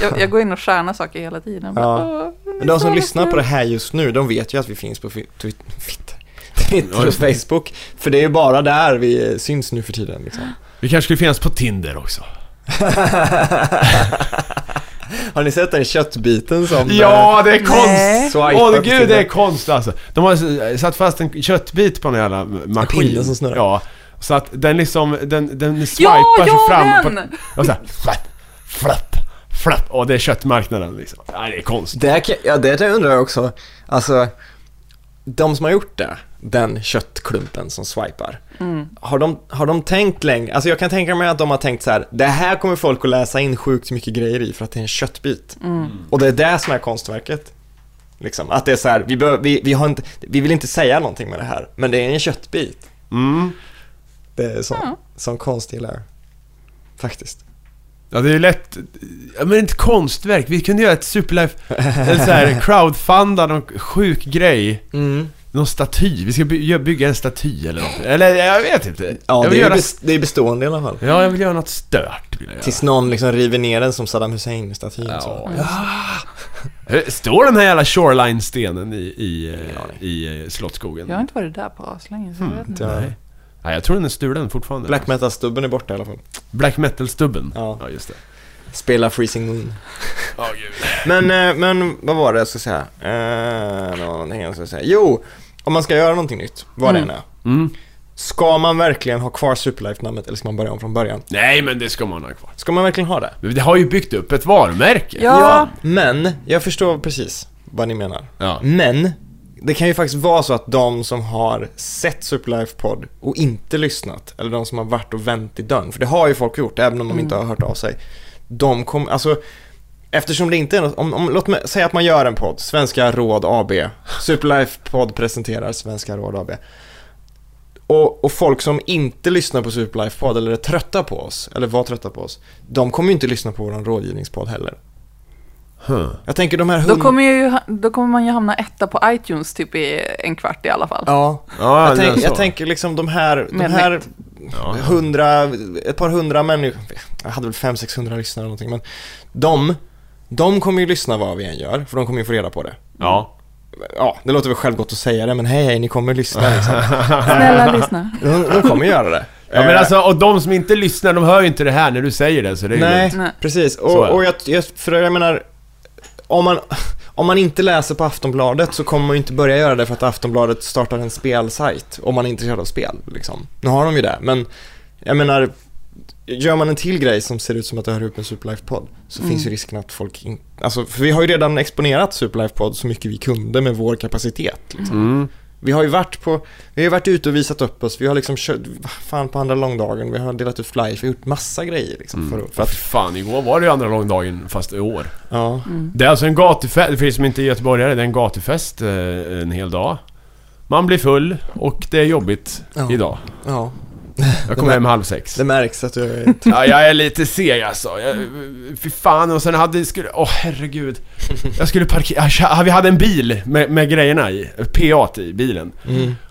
Speaker 3: jag, jag går in och stjärnar saker hela tiden.
Speaker 2: Ja.
Speaker 3: Bara, "Åh, ni
Speaker 2: de som
Speaker 3: sa
Speaker 2: lyssnar
Speaker 3: det."
Speaker 2: på det här just nu, de vet ju att vi finns på fi- twi- Twitter. Twitter
Speaker 1: Ja,
Speaker 2: och
Speaker 1: just det.
Speaker 2: Facebook, för det är ju bara där vi syns nu för tiden liksom.
Speaker 1: Vi kanske skulle finnas på Tinder också.
Speaker 2: Har ni sett den köttbiten som...
Speaker 1: Ja, det är konst!
Speaker 3: Nej.
Speaker 2: Swipe
Speaker 1: Åh
Speaker 2: up till
Speaker 1: gud, det
Speaker 2: det.
Speaker 1: är konst alltså. De har s- satt fast en köttbit på en jävla maskin.
Speaker 2: pinne som snurrar.
Speaker 1: Ja. Så att den liksom, den, den swipar
Speaker 3: Ja,
Speaker 1: sig
Speaker 3: ja
Speaker 1: fram. På,
Speaker 3: den!
Speaker 1: och såhär, flapp, flapp, flapp. Åh, det är köttmarknaden liksom. Nej, det är konst.
Speaker 2: Det, här kan- ja, det där undrar jag också. Alltså, de som har gjort det, den köttklumpen som swipar. Har, de, har de tänkt länge? Alltså jag kan tänka mig att de har tänkt så här, det här kommer folk att läsa in sjukt mycket grejer i för att det är en köttbit. Och det är det som är konstverket. Liksom, att det är så här, vi, behöver, vi, vi, har inte, vi vill inte säga någonting med det här, men det är en köttbit.
Speaker 1: Mm.
Speaker 2: Det är så,
Speaker 3: Ja.
Speaker 2: som konst gillar jag. Faktiskt.
Speaker 1: Ja, det är ju lätt... Ja, men ett konstverk. Vi kunde göra ett superlife... En så här crowdfunda någon sjuk grej.
Speaker 2: Mm.
Speaker 1: Någon staty. Vi ska by- bygga en staty eller något. Eller jag vet inte.
Speaker 2: Ja,
Speaker 1: jag
Speaker 2: det är,
Speaker 1: vill
Speaker 2: ju
Speaker 1: göra...
Speaker 2: bes- det är bestående i alla fall.
Speaker 1: Ja, jag vill göra något stört. Vill jag göra.
Speaker 2: Tills någon liksom river ner den som Saddam Hussein-statyn. så.
Speaker 1: Ja. Hur- Står den här jävla shoreline-stenen i, i, eh, i eh, Slottsskogen?
Speaker 3: Jag har inte varit där på aslänge så jag vet inte.
Speaker 2: Ja.
Speaker 1: Nej. Nej, jag tror den är stulen fortfarande.
Speaker 2: Black metal-stubben är borta i alla fall.
Speaker 1: Black metal-stubben.
Speaker 2: Ja.
Speaker 1: Ja. just det.
Speaker 2: Spela Freezing Moon.
Speaker 1: Ja, gud.
Speaker 2: Men, eh, men vad var det jag skulle säga? Eh, någonting jag skulle säga. Jo, om man ska göra någonting nytt, vad det än är.
Speaker 1: Mm.
Speaker 2: Ska man verkligen ha kvar Superlife-namnet eller ska man börja om från början?
Speaker 1: Nej, men det ska man ha kvar.
Speaker 2: Ska man verkligen ha det?
Speaker 1: Men det har ju byggt upp ett varumärke.
Speaker 3: Ja.
Speaker 2: Men, jag förstår precis vad ni menar.
Speaker 1: Ja.
Speaker 2: Men, det kan ju faktiskt vara så att de som har sett Superlife-podd och inte lyssnat, eller de som har varit och vänt i dörren, för det har ju folk gjort, även om de inte har hört av sig. De kommer, alltså, eftersom det inte är något, om, om, låt mig säga att man gör en podd, Svenska Råd AB. Superlife-podd presenterar Svenska Råd AB. Och, och folk som inte lyssnar på Superlife-podd eller är trötta på oss, eller var trötta på oss, de kommer ju inte lyssna på vår rådgivningspodd heller.
Speaker 1: Huh.
Speaker 2: Jag tänker de här
Speaker 3: Då
Speaker 2: hund-
Speaker 3: kommer, jag ju, ha- då kommer man ju hamna etta på iTunes typ i en kvart i alla fall.
Speaker 2: Ja,
Speaker 1: Ja,
Speaker 2: jag, tänk,
Speaker 1: det är så.
Speaker 2: jag tänker liksom de här, de
Speaker 3: Med
Speaker 2: här
Speaker 1: Ja.
Speaker 2: hundra, ett par hundra människor, jag hade väl 500-600 lyssnare eller någonting, men de, de kommer ju lyssna vad vi än gör, för de kommer ju få reda på det.
Speaker 1: Ja.
Speaker 2: Ja, det låter väl självgott att säga det, men hej, hej, ni kommer lyssna liksom.
Speaker 3: Snälla lyssna.
Speaker 2: De, de kommer göra det.
Speaker 1: Ja men
Speaker 2: Eh,
Speaker 1: alltså, och de som inte lyssnar, de hör ju inte det här när du säger det, så det är ju
Speaker 2: Nej,
Speaker 1: lugnt.
Speaker 3: Nej.
Speaker 2: precis.
Speaker 1: Så är
Speaker 2: Och,
Speaker 1: det.
Speaker 2: och jag, jag, för jag menar, om man, om man inte läser på Aftonbladet så kommer man ju inte börja göra det för att Aftonbladet startar en spelsajt om man är intresserad av spel. Liksom. Nu har de ju det, men jag menar, gör man en till grej som ser ut som att det hör ihop med Superlife-podd så finns ju risken att folk in, alltså, för vi har ju redan exponerat Superlife-podd så mycket vi kunde med vår kapacitet. Liksom.
Speaker 1: Mm.
Speaker 2: Vi har ju varit på, vi har ju varit ute och visat upp oss, vi har liksom kört, fan på andra långdagen, vi har delat ut flyers, vi har gjort massa grejer liksom,
Speaker 1: Mm.
Speaker 2: för, att- för att,
Speaker 1: Fan, igår var det ju andra långdagen, fast i år.
Speaker 2: ja.
Speaker 1: Det är alltså en gatufest, för er som inte är göteborgare, det är en gatufest eh, en hel dag. Man blir full och det är jobbigt
Speaker 2: Ja.
Speaker 1: idag.
Speaker 2: Ja,
Speaker 1: Jag kom
Speaker 2: Det-
Speaker 1: hem halv sex.
Speaker 2: det märks att du är...
Speaker 1: Ja, jag är lite seg alltså. Jag, fy fan, och sen hade... Skulle, åh herregud. Jag skulle parkera... ah, Vi hade en bil med, med grejerna i. PA i bilen.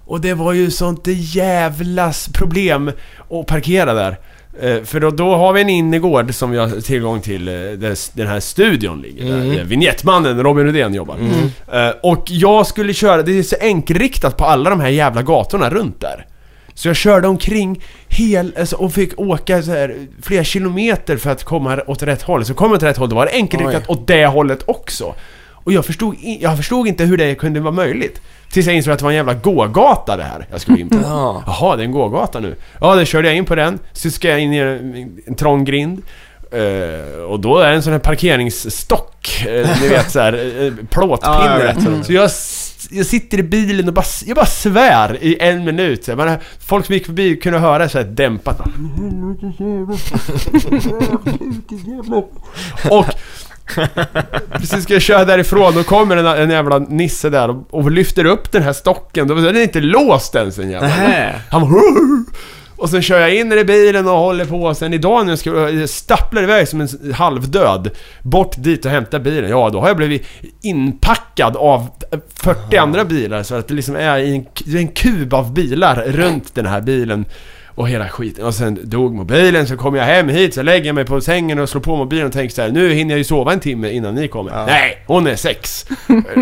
Speaker 1: Och det var ju sånt jävla s- problem att parkera där. Eh, För då, då har vi en innergård som vi har tillgång till, eh, där s- den här studion ligger. Där eh, vignettmannen Robin Rydén jobbar. Eh, Och jag skulle köra, det är så enkelriktat på alla de här jävla gatorna runt där. Så jag körde omkring hel, alltså, och fick åka så här, flera kilometer för att komma åt rätt håll. Så kom jag åt rätt håll, då var det enkelriktat
Speaker 2: Oj.
Speaker 1: åt det hållet också. Och jag förstod, i- jag förstod inte hur det kunde vara möjligt. Tills jag insåg att det var en jävla gågata det här jag skulle in på.
Speaker 2: Ja.
Speaker 1: Jaha, det är en gågata nu. Ja, då körde jag in på den. Så ska jag in i en, en trång grind. Eh, och då är det en sån här parkeringsstock, eh, ni vet såhär, uh, plåtpinne.
Speaker 2: Ja, jag vet vad du
Speaker 1: Så jag, s- jag sitter i bilen och bara, s- jag bara svär i en minut. Så här. Man, folk som gick förbi kunde höra såhär dämpat. bara, Och precis ska jag köra därifrån, då kommer en, en jävla nisse där och, och lyfter upp den här stocken. Då var den inte låst ens en jävla.
Speaker 2: Nähä.
Speaker 1: Han bara, "Hurr!" Och sen kör jag in i bilen och håller på. Sen idag när jag ska, jag stapplar iväg som en halvdöd bort dit och hämtar bilen. Ja, då har jag blivit inpackad av 40 andra bilar. Så att det liksom är i en, det är en kub av bilar runt den här bilen. och hela skiten. Och sen dog mobilen, så kommer jag hem hit, så lägger jag mig på sängen och slår på mobilen och tänker så här, nu hinner jag ju sova en timme innan ni kommer.
Speaker 2: Ja.
Speaker 1: Nej, hon är sex!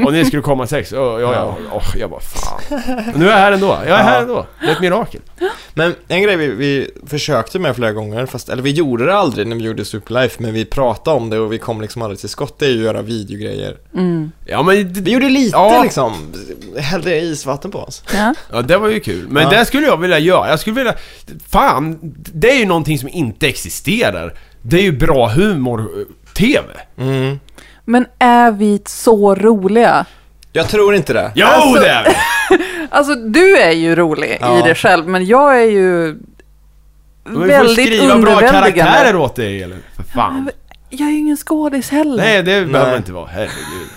Speaker 1: och ni skulle komma sex. Och jag, jag, åh, jag bara, fan. Och nu är jag här ändå. Jag är
Speaker 2: Ja.
Speaker 1: här ändå. Det är ett mirakel.
Speaker 2: Men en grej vi, vi försökte med flera gånger, fast, eller vi gjorde det aldrig när vi gjorde Superlife, men vi pratade om det och vi kom liksom aldrig till skott, det är ju att göra videogrejer.
Speaker 3: Mm.
Speaker 1: Ja men
Speaker 2: Vi
Speaker 1: det,
Speaker 2: gjorde lite
Speaker 1: Ja.
Speaker 2: liksom, hällde isvatten på oss.
Speaker 3: Ja.
Speaker 1: ja, det var ju kul. Men
Speaker 2: Ja.
Speaker 1: det skulle jag vilja göra. Jag skulle vilja... Fan, det är ju någonting som inte existerar. Det är ju bra eh, humor-TV.
Speaker 2: Mm.
Speaker 3: Men är vi så roliga?
Speaker 2: Jag tror inte det.
Speaker 1: Jo
Speaker 3: Alltså-
Speaker 1: det är vi!
Speaker 3: Alltså du är ju rolig
Speaker 2: Ja.
Speaker 3: i dig själv, men jag är ju
Speaker 1: Men Vi får
Speaker 3: väldigt
Speaker 1: skriva bra karaktärer
Speaker 3: underväldigande.
Speaker 1: åt dig eller? För fan.
Speaker 3: Jag är ju ingen skådis heller.
Speaker 1: Nej det behöver
Speaker 2: Nej.
Speaker 1: inte vara. Herregud.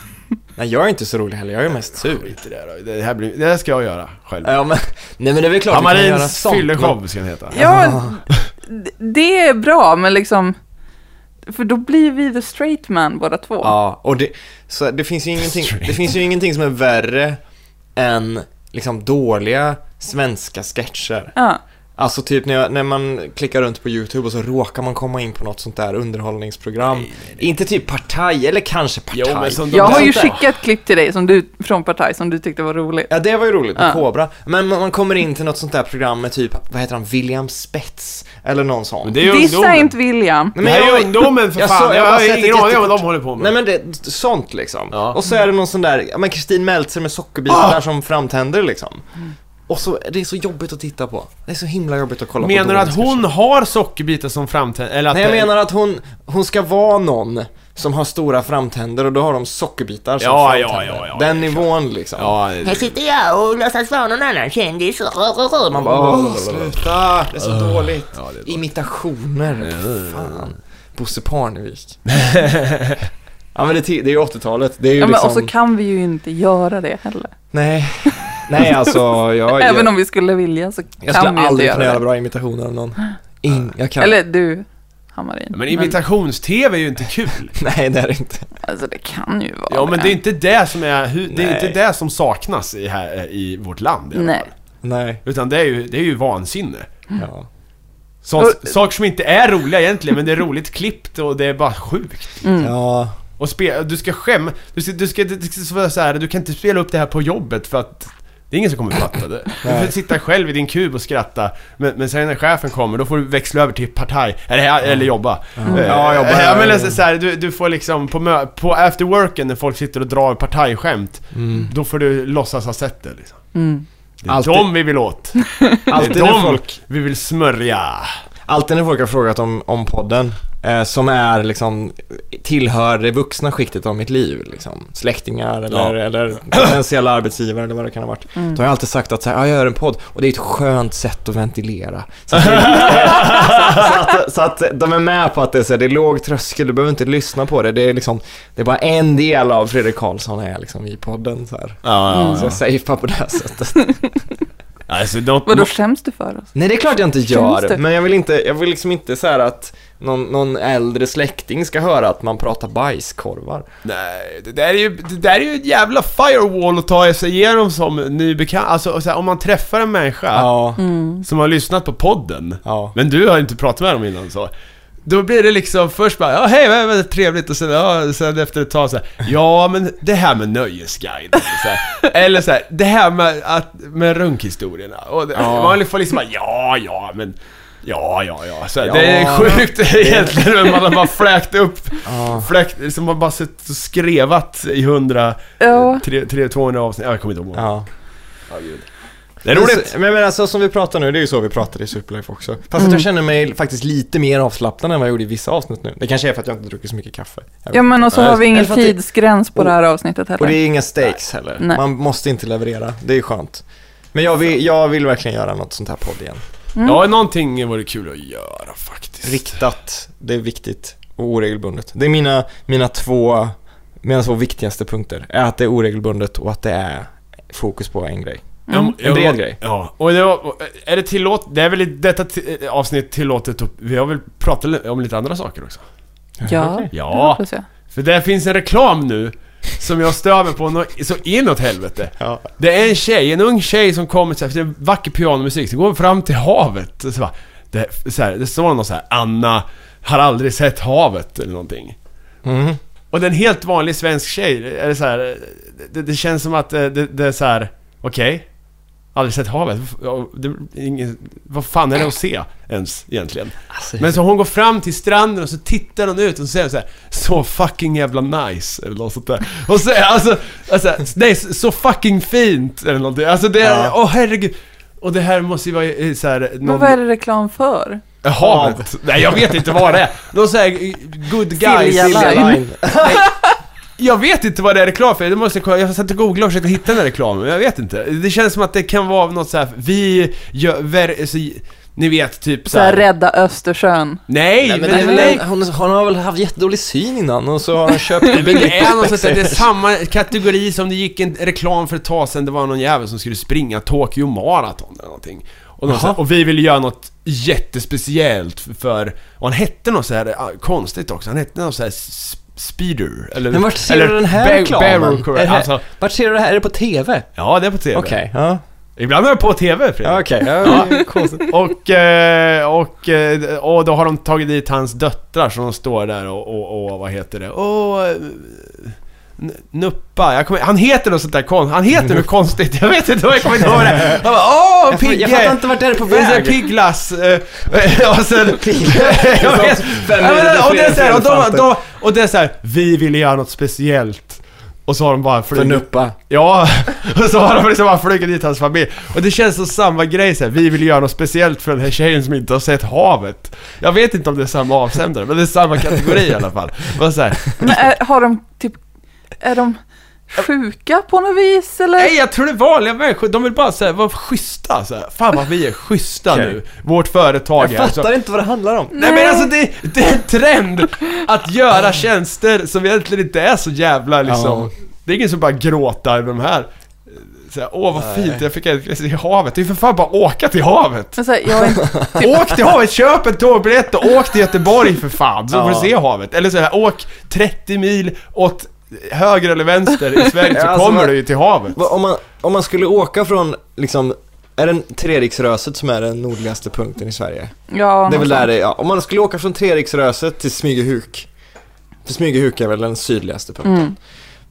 Speaker 2: Nej, jag är inte så rolig heller, jag är mest sur.
Speaker 1: Skit i det då. Det här, blir, det här ska jag göra själv.
Speaker 2: Ja, men, nej men det är väl klart vi kan göra
Speaker 1: Hamarins
Speaker 2: sånt,
Speaker 1: fylleshow ska den heta.
Speaker 3: Ja, men d- det är bra, men liksom... För då blir vi the straight man båda två.
Speaker 2: Ja, och det, så det, finns ju ingenting, det finns ju ingenting som är värre än liksom dåliga svenska sketcher.
Speaker 3: Ja.
Speaker 2: Alltså typ när, jag, när man klickar runt på YouTube och så råkar man komma in på något sånt där underhållningsprogram. Inte typ Partaj, eller kanske Partaj.
Speaker 1: Jo, men som de
Speaker 3: Jag
Speaker 1: där-
Speaker 3: har ju
Speaker 2: Sånt där.
Speaker 3: skickat klipp till dig som du, från Partaj som du tyckte var roligt.
Speaker 2: Ja, det var ju roligt
Speaker 3: Ja.
Speaker 2: med Kobra. Men man man kommer in till något sånt där program med typ, vad heter han, William Spets? Eller någon sån.
Speaker 1: Men det är ju
Speaker 3: Dissa
Speaker 1: ungdomen.
Speaker 3: inte William.
Speaker 2: Nej,
Speaker 1: det här är ju ungdomen för
Speaker 2: jag
Speaker 1: fan.
Speaker 2: såg-
Speaker 1: jag
Speaker 2: jag bara
Speaker 1: har
Speaker 2: sett
Speaker 1: ingen
Speaker 2: ett
Speaker 1: aning om vad de
Speaker 2: jättekort-
Speaker 1: håller på med.
Speaker 2: Nej men det, sånt liksom.
Speaker 1: Ja. Ah!
Speaker 2: Och så är det någon sån där, ja men Kristin Meltzer med sockerbitar som framtänder liksom. Och så, det är så jobbigt att titta på. Det är så himla jobbigt att kolla på.
Speaker 1: Menar du
Speaker 2: dåliga
Speaker 1: att hon har sockerbitar som framtänder? Eller att
Speaker 2: Nej jag
Speaker 1: det-
Speaker 2: menar att hon, hon ska vara någon som har stora framtänder och då har de sockerbitar som
Speaker 1: Ja, ja,
Speaker 2: framtänder.
Speaker 1: ja, ja,
Speaker 2: Den nivån liksom.
Speaker 1: Ja, det-
Speaker 4: Här sitter jag och låtsas vara någon annan kändis.
Speaker 2: Man bara, åh, sluta! Det är så dåligt.
Speaker 1: ja, det är bra.
Speaker 2: Imitationer. Fan. Bosse Parnevik. ja men det, är ti- det är ju 80-talet. Det är ju
Speaker 3: Ja, men,
Speaker 2: liksom...
Speaker 3: och så kan vi ju inte göra det heller.
Speaker 2: Nej. Nej alltså, jag,
Speaker 3: Även
Speaker 2: jag,
Speaker 3: om vi skulle vilja så
Speaker 2: jag
Speaker 3: kan vi
Speaker 2: skulle
Speaker 3: inte
Speaker 2: aldrig kunna
Speaker 3: göra
Speaker 2: göra
Speaker 3: det.
Speaker 2: bra imitationer av någon. In, jag kan.
Speaker 3: Eller du, Hammarin.
Speaker 1: Men imitations-TV är ju inte kul.
Speaker 2: Nej det är det inte.
Speaker 3: alltså det kan ju vara
Speaker 1: Ja men det är inte det som är, hu- det är
Speaker 2: Nej.
Speaker 1: inte det som saknas i, här, eh, i vårt land i alla
Speaker 3: Nej.
Speaker 1: fall.
Speaker 2: Nej.
Speaker 1: Utan det är ju, det är ju vansinne.
Speaker 3: Mm.
Speaker 2: Ja.
Speaker 1: Så,
Speaker 3: Och-
Speaker 1: saker som inte är roliga egentligen, men det är roligt klippt och det är bara sjukt.
Speaker 2: ja.
Speaker 1: Och spe, du ska skäm... Du ska, du ska, det ska vara så här, du kan inte spela upp det här på jobbet för att det är ingen som kommer fatta det. Du får sitta själv i din kub och skratta, men, men sen när chefen kommer då får du växla över till partaj, eller, eller jobba. Eh,
Speaker 2: Ja, jobba.
Speaker 1: eh, men alltså, så här, du, du får liksom på, mö- på after worken när folk sitter och drar partajskämt, då får du låtsas ha sett det liksom.
Speaker 3: Mm.
Speaker 1: Det är
Speaker 2: Mm. Alltid.
Speaker 1: dem vi vill åt.
Speaker 2: Alltid
Speaker 1: Det är
Speaker 2: när
Speaker 1: dem
Speaker 2: folk
Speaker 1: vi vill smörja.
Speaker 2: Alltid när folk har frågat om, om podden, eh, som är liksom, tillhör det vuxna skiktet av mitt liv, liksom, släktingar eller, eller potentiella arbetsgivare eller vad det kan ha varit. Då har jag alltid sagt att så här, "Ja, jag gör en podd och det är ett skönt sätt att ventilera. Så att, så, att, så att de är med på att det är, så här, det är låg tröskel, du behöver inte lyssna på det. Det är, liksom, det är bara en del av Fredrik Karlsson är liksom i podden. Så, här. så jag safear på det här sättet.
Speaker 1: Mm. Alltså, de,
Speaker 3: Vadå, skäms du för oss?
Speaker 2: Nej det är klart jag inte
Speaker 3: Känns
Speaker 2: gör,
Speaker 3: det?
Speaker 2: men jag vill inte, jag vill liksom inte så här att någon, någon äldre släkting ska höra att man pratar bajskorvar.
Speaker 1: Nej, det där är ju, det där är ju en jävla firewall att ta sig igenom som ny bekant. Alltså och så här, om man träffar en människa
Speaker 2: Ja,
Speaker 3: Mm.
Speaker 1: som har lyssnat på podden,
Speaker 2: ja.
Speaker 1: men du har inte pratat med dem innan så. Då blir det liksom först bara ja hej vad vad trevligt och sen, ja, sen efter ett tag så här, ja men det här med nöjesguiden så här, eller så här, det här med, att, med runkhistorierna och det, man får liksom bara ja ja men ja ja ja så här,
Speaker 2: Ja.
Speaker 1: det är sjukt egentligen men man har bara fläkt upp
Speaker 2: Ja.
Speaker 1: fläkt, liksom man bara suttit och skrevat i 100
Speaker 3: Ja.
Speaker 1: tre- tre- 200 avsnitt, jag kommer inte ihåg.
Speaker 2: ja.
Speaker 1: Det är roligt!
Speaker 2: Men, men alltså som vi pratar nu, det är ju så vi pratar i Superlife också. Fast att
Speaker 3: Mm.
Speaker 2: jag känner mig faktiskt lite mer avslappnad än vad jag gjorde i vissa avsnitt nu. Det kanske är för att jag inte druckit så mycket kaffe. Jag vet
Speaker 3: Ja, men
Speaker 2: inte.
Speaker 3: och så
Speaker 2: Nej,
Speaker 3: har vi ingen
Speaker 2: eller för att det-
Speaker 3: tidsgräns på det här avsnittet
Speaker 2: Och det
Speaker 3: heller.
Speaker 2: är inga stakes heller.
Speaker 3: Nej.
Speaker 2: Man måste inte leverera, det är skönt. Men jag vill, jag vill verkligen göra något sånt här podd igen.
Speaker 1: Ja, någonting vore kul att göra faktiskt.
Speaker 2: Riktat, det är viktigt och oregelbundet. Det är mina, mina, två, mina två viktigaste punkter. Är att det är oregelbundet och att det är fokus på en grej.
Speaker 1: Mm.
Speaker 2: En bred grej.
Speaker 1: Ja, och det var, är det tillåt, det är väl i detta ti- avsnitt tillåtet att, vi har väl pratat li- om lite andra saker också?
Speaker 3: Ja,
Speaker 1: Ja,
Speaker 3: det hoppas jag.
Speaker 1: för det finns en reklam nu som jag stör mig på nå- så inåt helvete.
Speaker 2: Ja.
Speaker 1: Det är en tjej, en ung tjej som kommer så här, för det är vacker pianomusik, så går hon fram till havet och så bara, det, så här, det står någon så här, Anna har aldrig sett havet eller någonting.
Speaker 2: Mm.
Speaker 1: Och det är en helt vanlig svensk tjej, eller så här, det, det känns som att eh, det, det är så här, okej, aldrig sett havet, Ja, det, ingen, vad fan är det att se ens egentligen?
Speaker 2: Alltså,
Speaker 1: Men så hon går fram till stranden och så tittar hon ut och så säger hon så här, så fucking jävla nice eller något sånt där. Och så, alltså, alltså, nej, så så fucking fint eller någonting. Alltså det är,
Speaker 2: Ja.
Speaker 1: åh herregud. Och det här måste ju vara eh, så här,
Speaker 3: Men
Speaker 1: någon...
Speaker 3: vad är det reklam för?
Speaker 1: Havet? Nej jag vet inte vad det är. Någon så här eh, good guys...
Speaker 3: Silja
Speaker 2: Silja
Speaker 3: Line.
Speaker 2: Line.
Speaker 1: Jag vet inte vad det är reklam för, det måste jag, kolla. jag satt och googlade och försökte hitta den här reklamen, men jag vet inte. Det känns som att det kan vara något så här. vi gör, ver, så, ni vet typ
Speaker 3: Så
Speaker 1: så
Speaker 3: här,
Speaker 1: här.
Speaker 3: rädda Östersjön.
Speaker 1: Nej,
Speaker 2: Nej, men
Speaker 1: men,
Speaker 2: det är
Speaker 1: nej,
Speaker 2: väl, hon, hon har väl haft jättedålig syn innan och så har hon köpt
Speaker 1: Men det är någonstans att det är samma kategori som det gick en reklam för ett tag sedan, det var någon jävel som skulle springa Tokyo Marathon eller någonting. Och, någon så här, och vi ville göra något jättespeciellt för, och han hette något så här ah, konstigt också, han hette något så här s- Speeder, eller...
Speaker 2: Men vart ser
Speaker 1: eller
Speaker 2: du den här
Speaker 1: Bar-
Speaker 2: reklamen?
Speaker 1: Barrel Correct,
Speaker 2: Är det här-
Speaker 1: alltså,
Speaker 2: Vart ser du det här? Är det på TV?
Speaker 1: ja, det är på TV.
Speaker 2: Okej. Ja,
Speaker 1: Ibland är det på TV, Fredrik.
Speaker 2: Ja, okej. Ja, det är konstigt.
Speaker 1: Och, eh, och, eh, och då har de tagit dit hans döttrar som de står där och, och, och vad heter det? Åh... eh, N- Nuppa, jag kommer, han heter något sånt där konstigt, han heter något konstigt, jag vet inte vad jag kommer inte ihåg det. Han bara åh
Speaker 2: Jag, fa-
Speaker 1: Pigge!
Speaker 2: jag fattar inte vart det är på
Speaker 1: Det är så här
Speaker 2: väg.
Speaker 1: Pigglass, eh, och sen... Jag vet-
Speaker 2: Fem
Speaker 1: Ja, men, Och det är så här, och de-
Speaker 2: elefanter.
Speaker 1: de- och det är såhär, vi ville göra något speciellt. Och så har de bara
Speaker 2: För
Speaker 1: flugit
Speaker 2: nuppa.
Speaker 1: Ja, och så har de liksom bara flugit dit hans familj. Och det känns som samma grej så här. vi vill göra något speciellt för den här tjejen som inte har sett havet. Jag vet inte om det är samma avsändare, men det är samma kategori i alla fall. Bara så här,
Speaker 3: Men är, har de typ, är de sjuka på något vis eller?
Speaker 1: nej jag tror det är vanliga människor, de vill bara säga vara schyssta så här. Fan vad vi är schyssta
Speaker 2: Okej.
Speaker 1: nu, vårt företag
Speaker 2: Jag
Speaker 1: är så.
Speaker 2: fattar inte vad det handlar om.
Speaker 1: Nej men alltså det, det är en trend att göra tjänster som egentligen inte är så jävla liksom.
Speaker 2: Ja.
Speaker 1: Det är ingen som bara gråtar över de här. Så här, Åh vad fint, jag fick ett i havet. Det är ju för fan bara att åka till havet.
Speaker 3: Men så här, jag är inte,
Speaker 1: Åk till havet, köp en tågbiljett och åk till Göteborg för fan. Så får
Speaker 2: Ja.
Speaker 1: du se havet. Eller så här, åk 30 mil åt höger eller vänster i Sverige så
Speaker 2: Ja, alltså,
Speaker 1: kommer
Speaker 2: vad-
Speaker 1: du ju till havet.
Speaker 2: Va- Om man, om man skulle åka från, liksom, är det Treriksröset som är den nordligaste punkten i Sverige?
Speaker 3: ja,
Speaker 2: Det är väl där det är, ja. Om man skulle åka från Treriksröset till Smygehuk, för Smygehuk är väl den sydligaste punkten.
Speaker 3: Mm.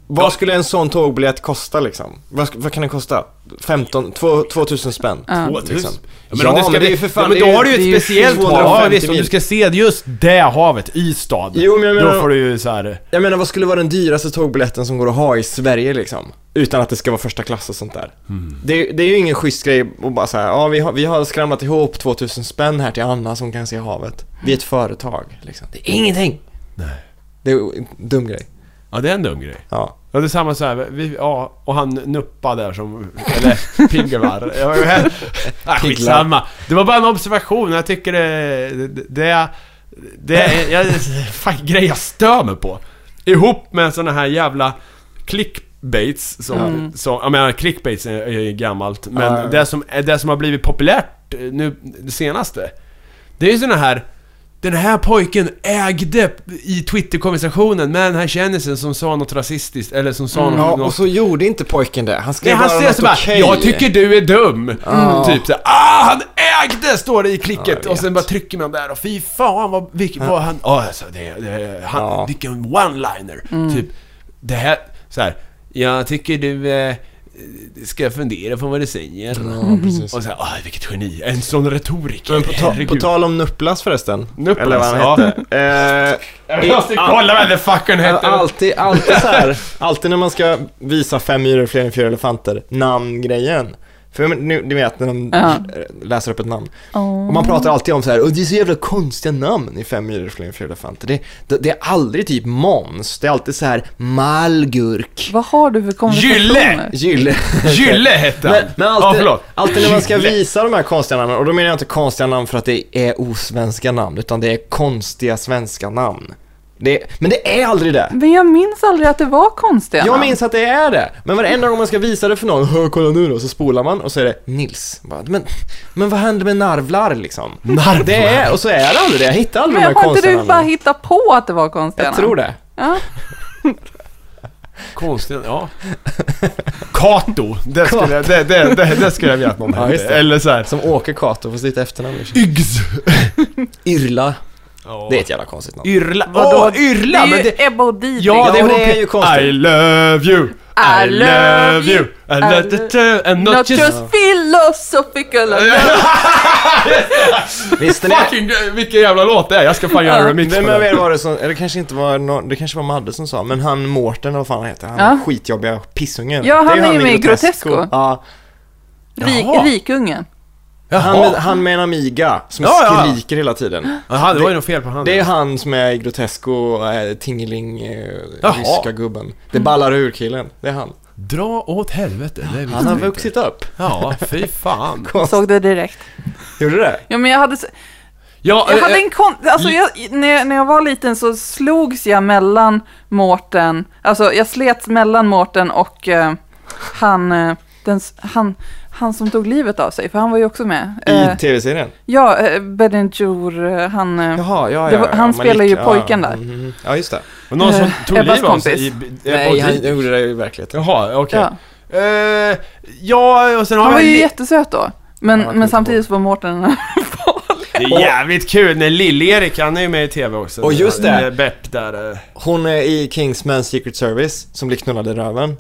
Speaker 2: Vad skulle en sån tågbiljett kosta liksom? Vad, sk- vad kan den kosta? 15, 2, 2000 spänn?
Speaker 3: Ja.
Speaker 1: 2000.
Speaker 2: Liksom.
Speaker 1: Ja, men, om
Speaker 2: Ja,
Speaker 1: det ska
Speaker 2: men det är
Speaker 1: bli-
Speaker 2: ju för fan-
Speaker 1: ja, men då
Speaker 2: det är ju-
Speaker 1: har du
Speaker 2: det är
Speaker 1: ju
Speaker 2: ju
Speaker 1: ett speciellt hav.
Speaker 2: 250
Speaker 1: Ja, visst, om du
Speaker 2: mil.
Speaker 1: ska se just det havet, Ystad.
Speaker 2: Jo, men jag menar-
Speaker 1: Då får du ju så här.
Speaker 2: Jag menar vad skulle vara den dyraste tågbiljetten som går att ha i Sverige liksom? Utan att det ska vara första klass och sånt där. Det, det är ju ingen schysst grej att bara säga, ja vi har, vi har skramlat ihop 2000 spänn här till Anna som kan se havet. Vi är ett företag liksom. Det är ingenting! Nej. Det är ju en dum grej.
Speaker 1: Ja, det är en dum grej.
Speaker 2: Ja.
Speaker 1: Ja, det är samma så här, vi, ja, och han Nuppa där som, eller Pingvar. Ja, men- ah, skitsamma. Det var bara en observation, jag tycker det, det, det, det är jag, fan, grej jag stör mig på. Ihop med såna här jävla clickbaits som, som jag menar clickbaits är, är gammalt, men
Speaker 2: Mm. Ja, ja, ja.
Speaker 1: det, som, det som har blivit populärt eh, nu, det senaste. Det är ju såna här den här pojken ägde i Twitter-konversationen med den här kändisen som sa något rasistiskt eller som sa
Speaker 2: Mm. ja,
Speaker 1: något...
Speaker 2: och så gjorde inte pojken det. Han skrev
Speaker 1: Nej, han
Speaker 2: bara
Speaker 1: säger
Speaker 2: något
Speaker 1: så bara,
Speaker 2: okej.
Speaker 1: jag tycker du är dum.
Speaker 2: Mm.
Speaker 1: Typ såhär, ah han ägde! Står det i
Speaker 2: Ja,
Speaker 1: klicket.
Speaker 2: jag
Speaker 1: och sen
Speaker 2: vet.
Speaker 1: bara trycker man där och fy fan vad, vilken, vad han, ah, alltså, det, det, han,
Speaker 2: Ja. Mm.
Speaker 1: vilken one-liner. Typ, det här, så här, jag tycker du eh, ska fundera på vad du säger.
Speaker 2: Ja, precis.
Speaker 1: Och så här, ah vilket geni, en sån retoriker.
Speaker 2: Men på, ta- på
Speaker 1: Herregud.
Speaker 2: tal om Nupplas förresten.
Speaker 1: Nupplas,
Speaker 2: Eller vad han
Speaker 1: ja.
Speaker 2: hette. Eh,
Speaker 1: Jag måste kolla vad den fuckern
Speaker 2: Ja,
Speaker 1: heter.
Speaker 2: Alltid, alltid så här, alltid när man ska visa fem myror fler än fyra elefanter, namngrejen. För men nu, ni vet när de eh,
Speaker 3: Ja.
Speaker 2: läser upp ett namn.
Speaker 3: Åh.
Speaker 2: Och man pratar alltid om så här, och det är så jävla konstiga namn i fem myror fler än fyra elefanter. Det, det, det är aldrig typ Måns, det är alltid så här Malgurk,
Speaker 3: Vad har du för konversationer?
Speaker 1: Gylle!
Speaker 2: Gylle.
Speaker 1: Gylle hette han!
Speaker 2: Men, men
Speaker 1: ja,
Speaker 2: alltid,
Speaker 1: förlåt.
Speaker 2: alltid när man ska
Speaker 1: Gylle.
Speaker 2: visa de här konstiga namnen, och då menar jag inte konstiga namn för att det är osvenska namn, utan det är konstiga svenska namn. Det, men det är aldrig det.
Speaker 3: Men jag minns aldrig att det var konstiga
Speaker 2: Jag
Speaker 3: namn.
Speaker 2: minns att det är det, men varenda gång man ska visa det för någon, "Hör, kolla nu då, så spolar man och så är det Nils. Bara, Men, men vad händer med narvlar liksom?
Speaker 1: Narvlar?
Speaker 2: Det är, och så är det aldrig det, jag hittar aldrig
Speaker 3: Men
Speaker 2: de här
Speaker 3: har inte
Speaker 2: konstiga
Speaker 3: du bara
Speaker 2: namnen.
Speaker 3: hittat på att det var konstiga
Speaker 2: Jag tror det.
Speaker 3: Ja.
Speaker 1: Konstigt, ja. Kato! Det skulle, jag- det, det, det, det skulle jag vilja att någon
Speaker 2: Ja, just
Speaker 1: hette.
Speaker 2: det.
Speaker 1: Eller såhär,
Speaker 2: Som Åke Kato, fast ditt efternamn.
Speaker 1: Yggs!
Speaker 2: Yrla. Det är ett jävla konstigt namn.
Speaker 1: Yrla.
Speaker 3: Vadå?
Speaker 1: Åh, Yrla!
Speaker 3: det är
Speaker 1: men
Speaker 3: ju Ebba och Didrik.
Speaker 1: Ja, det är,
Speaker 2: Ja,
Speaker 1: hon
Speaker 2: det är
Speaker 1: Pe-
Speaker 2: ju konstigt.
Speaker 1: I love you, I love you, I love you, and not,
Speaker 3: Not
Speaker 1: just...
Speaker 3: just philosophical.
Speaker 2: Visste ni?
Speaker 1: Fucking, vilken jävla låt det är! Jag ska fan göra en remix på
Speaker 2: Vem av
Speaker 1: den.
Speaker 2: er var det som, eller kanske inte var någon, det kanske var Madde som sa, men han Mårten, eller vad fan han heter, han
Speaker 3: Ja.
Speaker 2: skitjobbiga pissungen.
Speaker 3: Ja, han
Speaker 2: Det
Speaker 3: är ju med i Grotesco.
Speaker 2: Ja,
Speaker 3: Rik,
Speaker 1: Jaha.
Speaker 3: rikungen.
Speaker 2: han, med,
Speaker 1: Jaha,
Speaker 2: han med en Amiga som
Speaker 1: Ja, ja, ja.
Speaker 2: skriker hela tiden.
Speaker 1: Jaha, det var ju något fel på han.
Speaker 2: Det är han som är i Grotesco, äh, Tingeling, äh,
Speaker 1: Jaha.
Speaker 2: ryska gubben. Det ballar ur killen, det är han.
Speaker 1: Dra åt helvete, det är
Speaker 2: Han har vuxit upp.
Speaker 1: Ja, fy fan.
Speaker 3: Såg det direkt.
Speaker 2: Gjorde du det?
Speaker 3: Ja, men jag hade... s-
Speaker 1: Ja,
Speaker 3: Jag
Speaker 1: eh,
Speaker 3: hade en kon-
Speaker 2: Mm.
Speaker 3: alltså jag, när, jag, när jag var liten så slogs jag mellan Mårten, alltså jag slets mellan Mårten och eh, han, eh, den, s- han, han som tog livet av sig, för han var ju också med. Eh,
Speaker 2: I tv-serien?
Speaker 3: ja, eh, Bedenjour, eh, han... eh,
Speaker 2: Jaha, ja, ja,
Speaker 3: det var-
Speaker 2: ja,
Speaker 3: han
Speaker 2: men
Speaker 3: spelar ju
Speaker 2: lik- ja,
Speaker 3: pojken där.
Speaker 2: mhm. Ja, just det.
Speaker 1: eh, någon som tog
Speaker 3: Ebbas
Speaker 1: livet av sig alltså i...
Speaker 3: kompis.
Speaker 1: i-
Speaker 2: Nej,
Speaker 1: och-
Speaker 2: han gjorde det i verkligheten.
Speaker 1: Jaha, okej.
Speaker 3: ja.
Speaker 1: Eh, ja, och sen har
Speaker 3: Han var
Speaker 1: vi...
Speaker 3: ju jättesöt då, men,
Speaker 2: Ja, jag kommer
Speaker 3: men
Speaker 2: inte
Speaker 3: samtidigt så var Mårten...
Speaker 1: Det är jävligt kul när Lill-Erik, han är ju med i TV också.
Speaker 2: Och just det.
Speaker 1: Med Bert där. eh.
Speaker 2: Hon är i Kingsman Secret Service, som blir knullad i röven.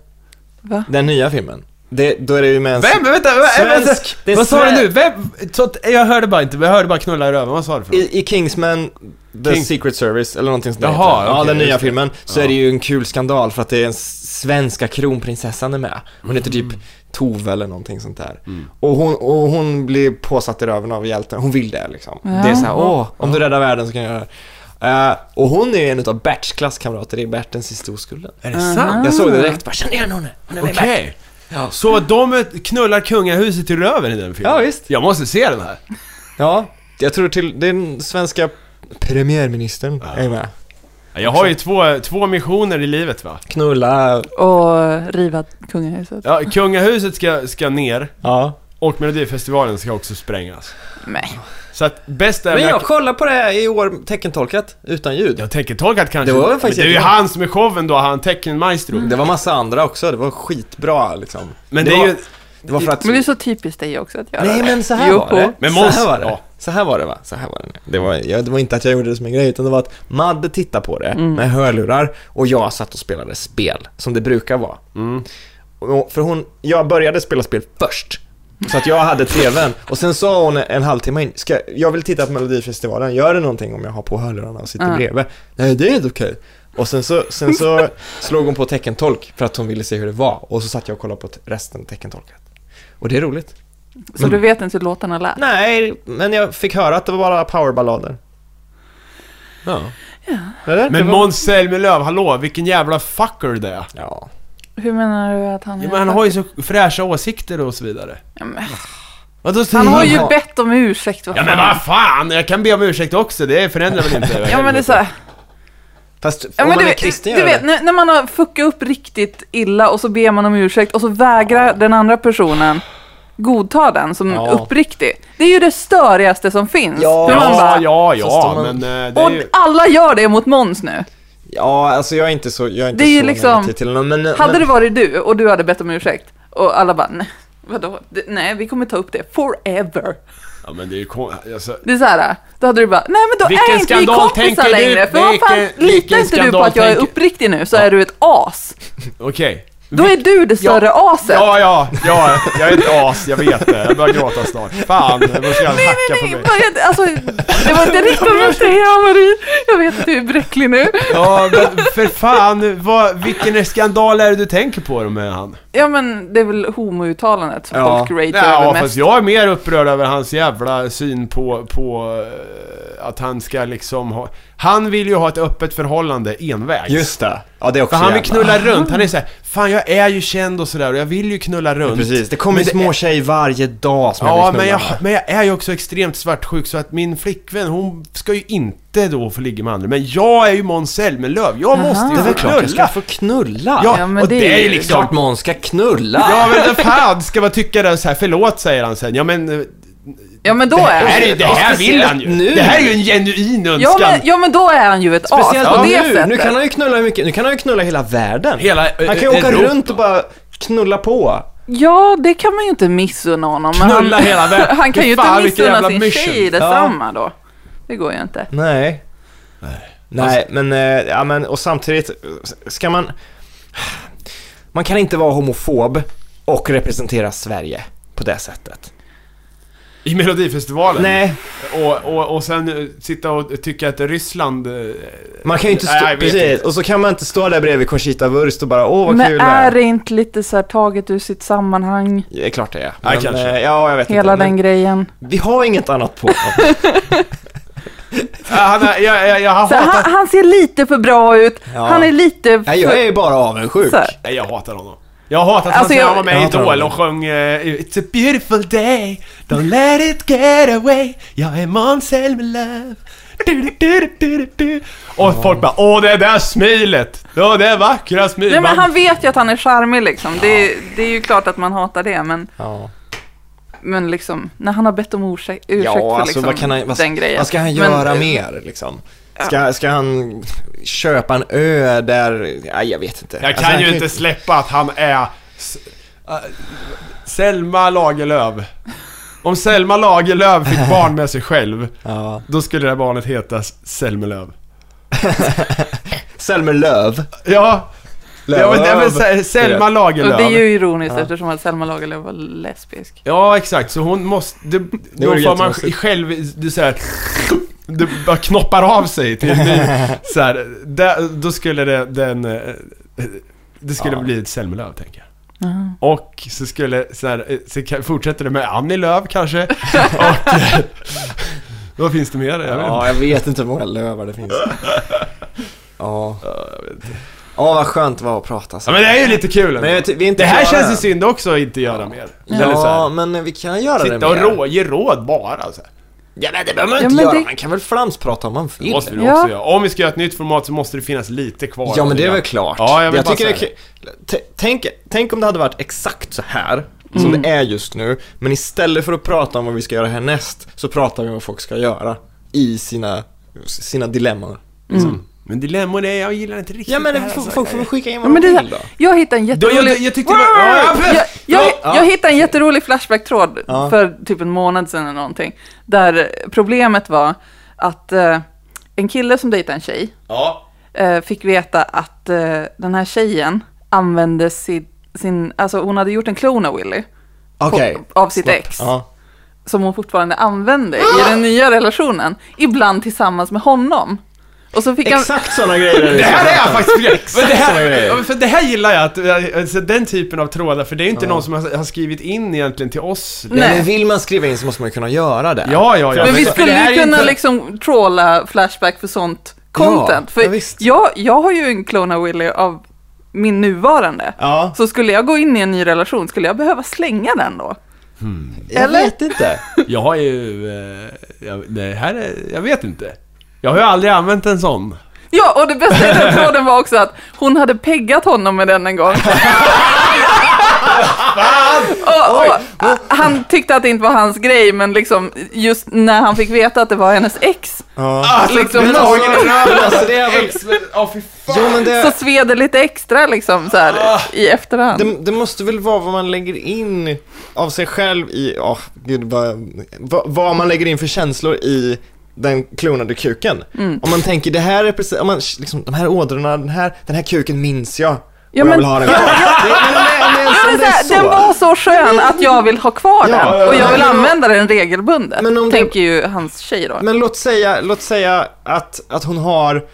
Speaker 3: Va?
Speaker 2: Den nya filmen. Det, då är det ju med en...
Speaker 1: Vem? Vänta, vänta, vänta.
Speaker 2: Svensk. Det är
Speaker 1: Vad sa du
Speaker 2: sve-
Speaker 1: nu? Vem? Så, att- jag hörde bara inte, jag hörde bara knulla i röven. Vad sa du för något?
Speaker 2: I, I Kingsman The
Speaker 1: King-
Speaker 2: Secret Service, eller någonting sånt där
Speaker 1: Jaha,
Speaker 2: heter det. Ja,
Speaker 1: okej,
Speaker 2: den nya
Speaker 1: just det.
Speaker 2: filmen. Så
Speaker 1: Ja.
Speaker 2: är det ju en kul skandal för att det är en s- svenska kronprinsessan är med. Hon heter typ
Speaker 1: Mm.
Speaker 2: Tove eller någonting sånt där. Och, hon, och hon blir påsatt i röven av hjälten. Hon vill det liksom.
Speaker 3: Ja.
Speaker 2: Det är såhär, åh, om du räddar världen så kan jag göra det. Eh, och hon är ju en utav Berts klasskamrater i Bert den sista oskulden.
Speaker 1: Är det sant?
Speaker 2: Jag såg det direkt, bara kände igen henne. Hon är med i
Speaker 1: Okej.
Speaker 2: Bert." Ja.
Speaker 1: Så de knullar kungahuset i röven i den filmen?
Speaker 2: Ja, visst.
Speaker 1: Jag måste se den här.
Speaker 2: Ja, jag tror till den svenska premiärministern är med.
Speaker 1: Jag har ju två, två missioner i livet va?
Speaker 2: Knulla,
Speaker 3: Och riva kungahuset.
Speaker 1: Ja, kungahuset ska, ska ner
Speaker 2: ja.
Speaker 1: och Melodifestivalen ska också sprängas.
Speaker 3: Nej.
Speaker 1: Så att bäst är...
Speaker 2: Men jag kollade på det här i år, teckentolkat, utan ljud.
Speaker 1: jag tänker tolkat kanske.
Speaker 2: Det var väl faktiskt
Speaker 1: Men det är ju
Speaker 2: jättebra. Mm.
Speaker 1: han som är showen då, han teckenmaestro.
Speaker 2: Det var massa andra också, det var skitbra liksom.
Speaker 1: Men det, är
Speaker 2: var,
Speaker 1: ju...
Speaker 2: Det var för att...
Speaker 3: Men det är så typiskt dig också att göra
Speaker 2: Nej men så här
Speaker 3: Jo.
Speaker 2: var det.
Speaker 1: Men
Speaker 2: så
Speaker 1: Måns-
Speaker 2: här var det.
Speaker 1: ja.
Speaker 2: Så här var det va? Så här var det. Det var, jag, det var inte att jag gjorde det som en grej, utan det var att Madde tittade på det med hörlurar och jag satt och spelade spel, som det brukar vara. Och, för hon, jag började spela spel först. Så att jag hade TVn och sen sa hon en halvtimme in, ska, jag vill titta på Melodifestivalen, gör det någonting om jag har på hörlurarna och sitter
Speaker 3: Mm.
Speaker 2: bredvid? Nej det är inte okej. Och sen så, sen så slog hon på teckentolk för att hon ville se hur det var och så satt jag och kollade på te- resten teckentolkat. Och det är roligt.
Speaker 3: Så du vet inte hur låtarna lät?
Speaker 2: Nej, men jag fick höra att det var bara powerballader.
Speaker 1: Ja.
Speaker 2: Eller?
Speaker 1: Men
Speaker 2: Det var...
Speaker 1: Måns Zelmerlöw, hallå, vilken jävla fucker det är.
Speaker 2: Ja.
Speaker 3: Hur menar du att han
Speaker 1: Ja, men han har ju så fräscha åsikter och så vidare.
Speaker 3: Ja, men-
Speaker 1: Vadå, så-
Speaker 3: Han har ju
Speaker 2: Ja.
Speaker 3: bett om ursäkt. Vad
Speaker 1: Ja
Speaker 3: fan.
Speaker 1: men vad fan, jag kan be om ursäkt också, det förändrar väl inte?
Speaker 3: Ja men det är så här,
Speaker 2: Fast
Speaker 3: ja,
Speaker 2: om
Speaker 3: men
Speaker 2: man
Speaker 3: du,
Speaker 2: är
Speaker 3: vet-
Speaker 2: kristen
Speaker 3: du
Speaker 2: gör
Speaker 3: vet,
Speaker 2: det.
Speaker 3: när, när man har fuckat upp riktigt illa och så ber man om ursäkt och så vägrar den andra personen godta den som
Speaker 2: Ja.
Speaker 3: uppriktig. Det är ju det störigaste som finns.
Speaker 2: Ja,
Speaker 3: Hur man
Speaker 1: Ja,
Speaker 3: bara,
Speaker 1: ja,
Speaker 2: Så står
Speaker 1: ja,
Speaker 2: man-
Speaker 1: men eh, det
Speaker 3: Och
Speaker 1: är ju...
Speaker 3: alla gör det mot Måns nu.
Speaker 2: Ja, alltså jag är inte så, jag är inte
Speaker 3: Det är ju
Speaker 2: så
Speaker 3: liksom-
Speaker 2: negativ till honom, men...
Speaker 3: Hade
Speaker 2: men...
Speaker 3: det varit du och du hade bett om ursäkt och alla bara nej, vadå? Det, nej, vi kommer ta upp det forever.
Speaker 1: Ja men det är ju kon- alltså,
Speaker 3: Det är så här, då hade du bara, nej men då
Speaker 1: Vilken
Speaker 3: är inte vi
Speaker 1: skandal
Speaker 3: kompisar
Speaker 1: tänker du?
Speaker 3: längre. För vad fan,
Speaker 1: Vilken-
Speaker 3: litar
Speaker 1: vilken
Speaker 3: inte du på
Speaker 1: skandal
Speaker 3: att jag är
Speaker 1: tänker-
Speaker 3: uppriktig nu så är du ett as.
Speaker 1: Okej.
Speaker 3: Då är du det större aset.
Speaker 1: Ja, ja, ja, jag är ett as, jag vet det. Jag börjar gråta snart. Fan, jag börjar hacka på
Speaker 3: Nej,
Speaker 1: mig.
Speaker 3: börja inte- Alltså, det var inte riktigt vad jag säger, Marie. Jag vet att du är bräcklig nu.
Speaker 1: Ja, men för fan, vad, vilken skandal är det du tänker på då med han?
Speaker 3: Ja, men det är väl homo-uttalandet som
Speaker 2: Ja.
Speaker 3: folk ratear
Speaker 1: Ja,
Speaker 3: över
Speaker 1: fast
Speaker 3: mest.
Speaker 1: jag är mer upprörd över hans jävla syn på, på eh, att han ska liksom ha... Han vill ju ha ett öppet förhållande envägs.
Speaker 2: Just det. Ja, det är också
Speaker 1: För han vill
Speaker 2: jävla-
Speaker 1: knulla runt, han är såhär, fan jag är ju känd och sådär och jag vill ju knulla
Speaker 2: Ja,
Speaker 1: runt.
Speaker 2: Precis, det kommer
Speaker 1: Men det-
Speaker 2: små tjejer varje dag som
Speaker 1: Ja,
Speaker 2: jag vill
Speaker 1: men
Speaker 2: knulla
Speaker 1: jag,
Speaker 2: med.
Speaker 1: men jag är ju också extremt svartsjuk så att min flickvän hon ska ju inte då få ligga med andra. Men jag är ju Måns Zelmerlöw, jag måste
Speaker 2: Det
Speaker 1: ju
Speaker 2: är
Speaker 1: få
Speaker 2: väl klart jag ska
Speaker 1: knulla!
Speaker 2: få knulla!
Speaker 1: Ja,
Speaker 3: Ja, men
Speaker 1: och
Speaker 3: det
Speaker 1: det,
Speaker 3: är
Speaker 1: är
Speaker 3: ju
Speaker 1: ju
Speaker 2: Det är klart
Speaker 1: liksom...
Speaker 2: Måns ska knulla!
Speaker 1: Ja men vad fan ska man tycka det så här? förlåt säger han sen. Ja men... eh,
Speaker 3: Ja, men då är
Speaker 1: här är, det här vill han ju!
Speaker 2: nu.
Speaker 1: Det här är ju en genuin önskan!
Speaker 3: Ja men, ja, men då är han ju ett
Speaker 2: Speciellt
Speaker 3: as på
Speaker 2: nu.
Speaker 3: det sättet.
Speaker 2: Nu kan han ju knulla hur mycket, nu kan han ju knulla hela världen.
Speaker 1: Hela,
Speaker 2: han kan ju
Speaker 1: eh,
Speaker 2: åka
Speaker 1: Europa.
Speaker 2: runt och bara knulla på.
Speaker 3: Ja, det kan man ju inte missunna honom. Men
Speaker 1: Knulla
Speaker 3: han,
Speaker 1: hela världen.
Speaker 3: han kan
Speaker 1: Fy
Speaker 3: ju
Speaker 1: fan,
Speaker 3: inte
Speaker 1: vilken
Speaker 3: missunna
Speaker 1: jävla
Speaker 3: sin
Speaker 1: mission.
Speaker 3: tjej detsamma då. Det går ju inte.
Speaker 2: Nej. Nej, men, eh, ja, men och samtidigt eh, ska man... Man kan inte vara homofob och representera Sverige på det sättet.
Speaker 1: I Melodifestivalen?
Speaker 2: Nej,
Speaker 1: Och, och, och sen eh, sitta och tycka att Ryssland... eh,
Speaker 2: man kan ju inte stå...
Speaker 1: Nej, jag vet
Speaker 2: precis,
Speaker 1: inte.
Speaker 2: och så kan man inte stå där bredvid Conchita Wurst och bara åh vad kul
Speaker 3: Men
Speaker 2: det
Speaker 3: är
Speaker 2: är.
Speaker 3: det inte lite så här taget ur sitt sammanhang,
Speaker 2: Det är klart det är.
Speaker 1: Nej, kanske.
Speaker 2: eh, ja, jag vet
Speaker 3: hela
Speaker 2: inte.
Speaker 3: den
Speaker 2: men
Speaker 3: grejen?
Speaker 2: Vi har inget annat på.
Speaker 1: Ah, Han, har- jag, jag, jag har
Speaker 3: Så
Speaker 1: hatat...
Speaker 3: han, han ser lite för bra ut,
Speaker 2: Ja.
Speaker 3: han är lite för...
Speaker 2: Nej, jag är ju bara avundsjuk.
Speaker 3: så här.
Speaker 1: Nej, jag hatar honom. Jag hatar att
Speaker 3: Alltså,
Speaker 1: han,
Speaker 3: jag-
Speaker 1: jag, han var med
Speaker 2: Jag
Speaker 1: i
Speaker 2: hatar
Speaker 1: Idol
Speaker 2: honom.
Speaker 1: och sjöng eh, It's a beautiful day, don't let it get away Jag är Måns Zelmerlöw Du, du, du, du, du, du. Och folk bara Åh det där smilet! Ja det vackra smilet!
Speaker 3: Nej men han vet ju att han är charmig liksom. Det, det är ju klart att man hatar det men,
Speaker 2: Ja.
Speaker 3: men liksom, när han har bett om ursäkt, ursäkt
Speaker 2: Ja,
Speaker 3: för
Speaker 2: alltså
Speaker 3: liksom
Speaker 2: vad, kan han, vad,
Speaker 3: den grejen.
Speaker 2: vad ska han
Speaker 3: Men- eh,
Speaker 2: göra mer liksom? Ska, ska han köpa en ö där, nej jag vet inte.
Speaker 1: Jag kan
Speaker 2: Alltså, han
Speaker 1: ju inte släppa att han är... S- äh, Selma Lagerlöf. Om Selma Lagerlöf fick barn med sig själv,
Speaker 2: Ja.
Speaker 1: då skulle det här barnet heta S- Selmelöv.
Speaker 2: Selmer Löv.
Speaker 1: Ja, ja men, ja, men Se- Selma
Speaker 3: Och det är
Speaker 1: Lagerlöf.
Speaker 3: ju ironiskt eftersom att Selma Lagerlöf var lesbisk.
Speaker 1: Ja, exakt. Så hon måste... Det, då
Speaker 2: vore
Speaker 1: får man
Speaker 2: jättekonstigt.
Speaker 1: själv... Det, så här, det bara knoppar av sig till en ny... Så här, där, då skulle det, den... eh, Det skulle
Speaker 2: Ja.
Speaker 1: bli ett Selmelöv, tänker jag. Och så skulle, så här, eh, så ka- fortsätter det med Annie Lööf kanske. Och eh, vad finns det mer? Jag vet inte.
Speaker 2: Ja, jag vet inte hur många lövar det finns. Ja. Ja, vad skönt det var att prata
Speaker 1: Ja,
Speaker 2: så.
Speaker 1: men det är ju lite kul ändå.
Speaker 2: Men jag vet- vi är inte
Speaker 1: Det här
Speaker 2: klara
Speaker 1: känns ju
Speaker 2: än.
Speaker 1: synd också att inte göra mer. Eller så
Speaker 2: Ja,
Speaker 1: här,
Speaker 2: men vi kan göra det
Speaker 1: sitta och
Speaker 2: mer.
Speaker 1: rå, ge råd bara. Så här.
Speaker 2: Ja, men det behöver man
Speaker 3: Ja,
Speaker 2: inte
Speaker 3: men
Speaker 2: göra.
Speaker 3: det-
Speaker 2: Man kan väl flamsprata om man
Speaker 1: Det
Speaker 2: vill.
Speaker 1: måste vi
Speaker 3: Ja.
Speaker 1: också göra. Om vi ska göra ett nytt format så måste det finnas lite kvar.
Speaker 2: Ja, men
Speaker 1: att
Speaker 2: det är
Speaker 1: göra.
Speaker 2: väl klart.
Speaker 1: Ja, jag, vill bara
Speaker 2: tycker det är
Speaker 1: säga det.
Speaker 2: kul. T- tänk, tänk om det hade varit exakt så här som det är just nu, men istället för att prata om vad vi ska göra härnäst så pratar vi om vad folk ska göra i sina, sina dilemman.
Speaker 1: Men dilemmor är, jag gillar inte riktigt
Speaker 2: Ja men
Speaker 1: det
Speaker 2: det
Speaker 1: här.
Speaker 2: får,
Speaker 1: alltså.
Speaker 2: folk får väl skicka in
Speaker 3: Ja,
Speaker 2: vad
Speaker 3: men
Speaker 2: de
Speaker 3: det
Speaker 2: vill då.
Speaker 3: är, jag hittade en
Speaker 1: Då,
Speaker 3: jätterolig...
Speaker 1: jag, jag tyckte det var... Ja,
Speaker 3: jag,
Speaker 1: för-
Speaker 3: jag,
Speaker 2: Ja.
Speaker 3: jag hittade en jätterolig Flashback-tråd
Speaker 2: Ja.
Speaker 3: för typ en månad sedan eller någonting. Där problemet var att eh, en kille som dejtade en tjej
Speaker 1: Ja.
Speaker 3: eh, fick veta att eh, den här tjejen använde sin, sin... Alltså hon hade gjort en klon av Willy
Speaker 2: Okej.
Speaker 3: på- av sitt ex.
Speaker 2: Ja.
Speaker 3: som hon fortfarande använde i den nya relationen. Ibland tillsammans med honom. Och så fick han...
Speaker 2: Exakt sådana grejer är det
Speaker 1: Det här
Speaker 2: som-
Speaker 1: är jag faktiskt men det
Speaker 2: såna
Speaker 1: här,
Speaker 2: grejer.
Speaker 1: ja, men för det här gillar jag, att, alltså, den typen av trådar, för det är inte någon som har har skrivit in egentligen till oss.
Speaker 2: Nej.
Speaker 3: Nej.
Speaker 2: Men vill man skriva in så måste man ju kunna göra det.
Speaker 1: Ja, ja, ja.
Speaker 3: Men vi
Speaker 1: men-
Speaker 2: det
Speaker 3: skulle
Speaker 2: här är
Speaker 3: ju
Speaker 2: ju
Speaker 3: kunna
Speaker 2: inte-
Speaker 3: liksom tråla Flashback för sånt content.
Speaker 2: Ja,
Speaker 3: för
Speaker 2: ja, visst.
Speaker 3: jag, jag har ju en klon av Willy av min nuvarande.
Speaker 2: Ja.
Speaker 3: Så skulle jag gå in i en ny relation, skulle jag behöva slänga den då?
Speaker 2: Jag
Speaker 3: Eller?
Speaker 2: vet inte.
Speaker 1: Jag har ju... eh, Jag, det här är, jag vet inte. Jag har ju aldrig använt en sån.
Speaker 3: Ja, och det bästa i den tråden var också att hon hade peggat honom med den en gång. och, och, han tyckte att det inte var hans grej, men liksom just när han fick veta att det var hennes ex
Speaker 1: Alltså,
Speaker 3: Liksom-
Speaker 1: men alltså,
Speaker 2: Lagen är röd, alltså, det är väl-
Speaker 1: Ja, fy fan.
Speaker 2: Jo men
Speaker 3: så
Speaker 2: det,
Speaker 3: sved det lite extra liksom så här i efterhand.
Speaker 2: Ah. det, det måste väl vara vad man lägger in av sig själv i, ja gud vad, vad, vad man lägger in för känslor i den klonade kuken.
Speaker 3: Mm.
Speaker 2: Om man tänker det här är precis, om man liksom, de här ådrorna, den här, den här kuken minns jag. och jag
Speaker 3: men-
Speaker 2: vill ha den kvar. Det, men, men, men,
Speaker 3: Ja, men
Speaker 2: men,
Speaker 3: så här, den var så skön att jag vill ha kvar
Speaker 2: Ja,
Speaker 3: den och jag vill
Speaker 2: men om-
Speaker 3: använda den regelbundet,
Speaker 2: Men om det-
Speaker 3: tänker ju hans tjej då.
Speaker 2: Men låt säga, låt säga att, att hon har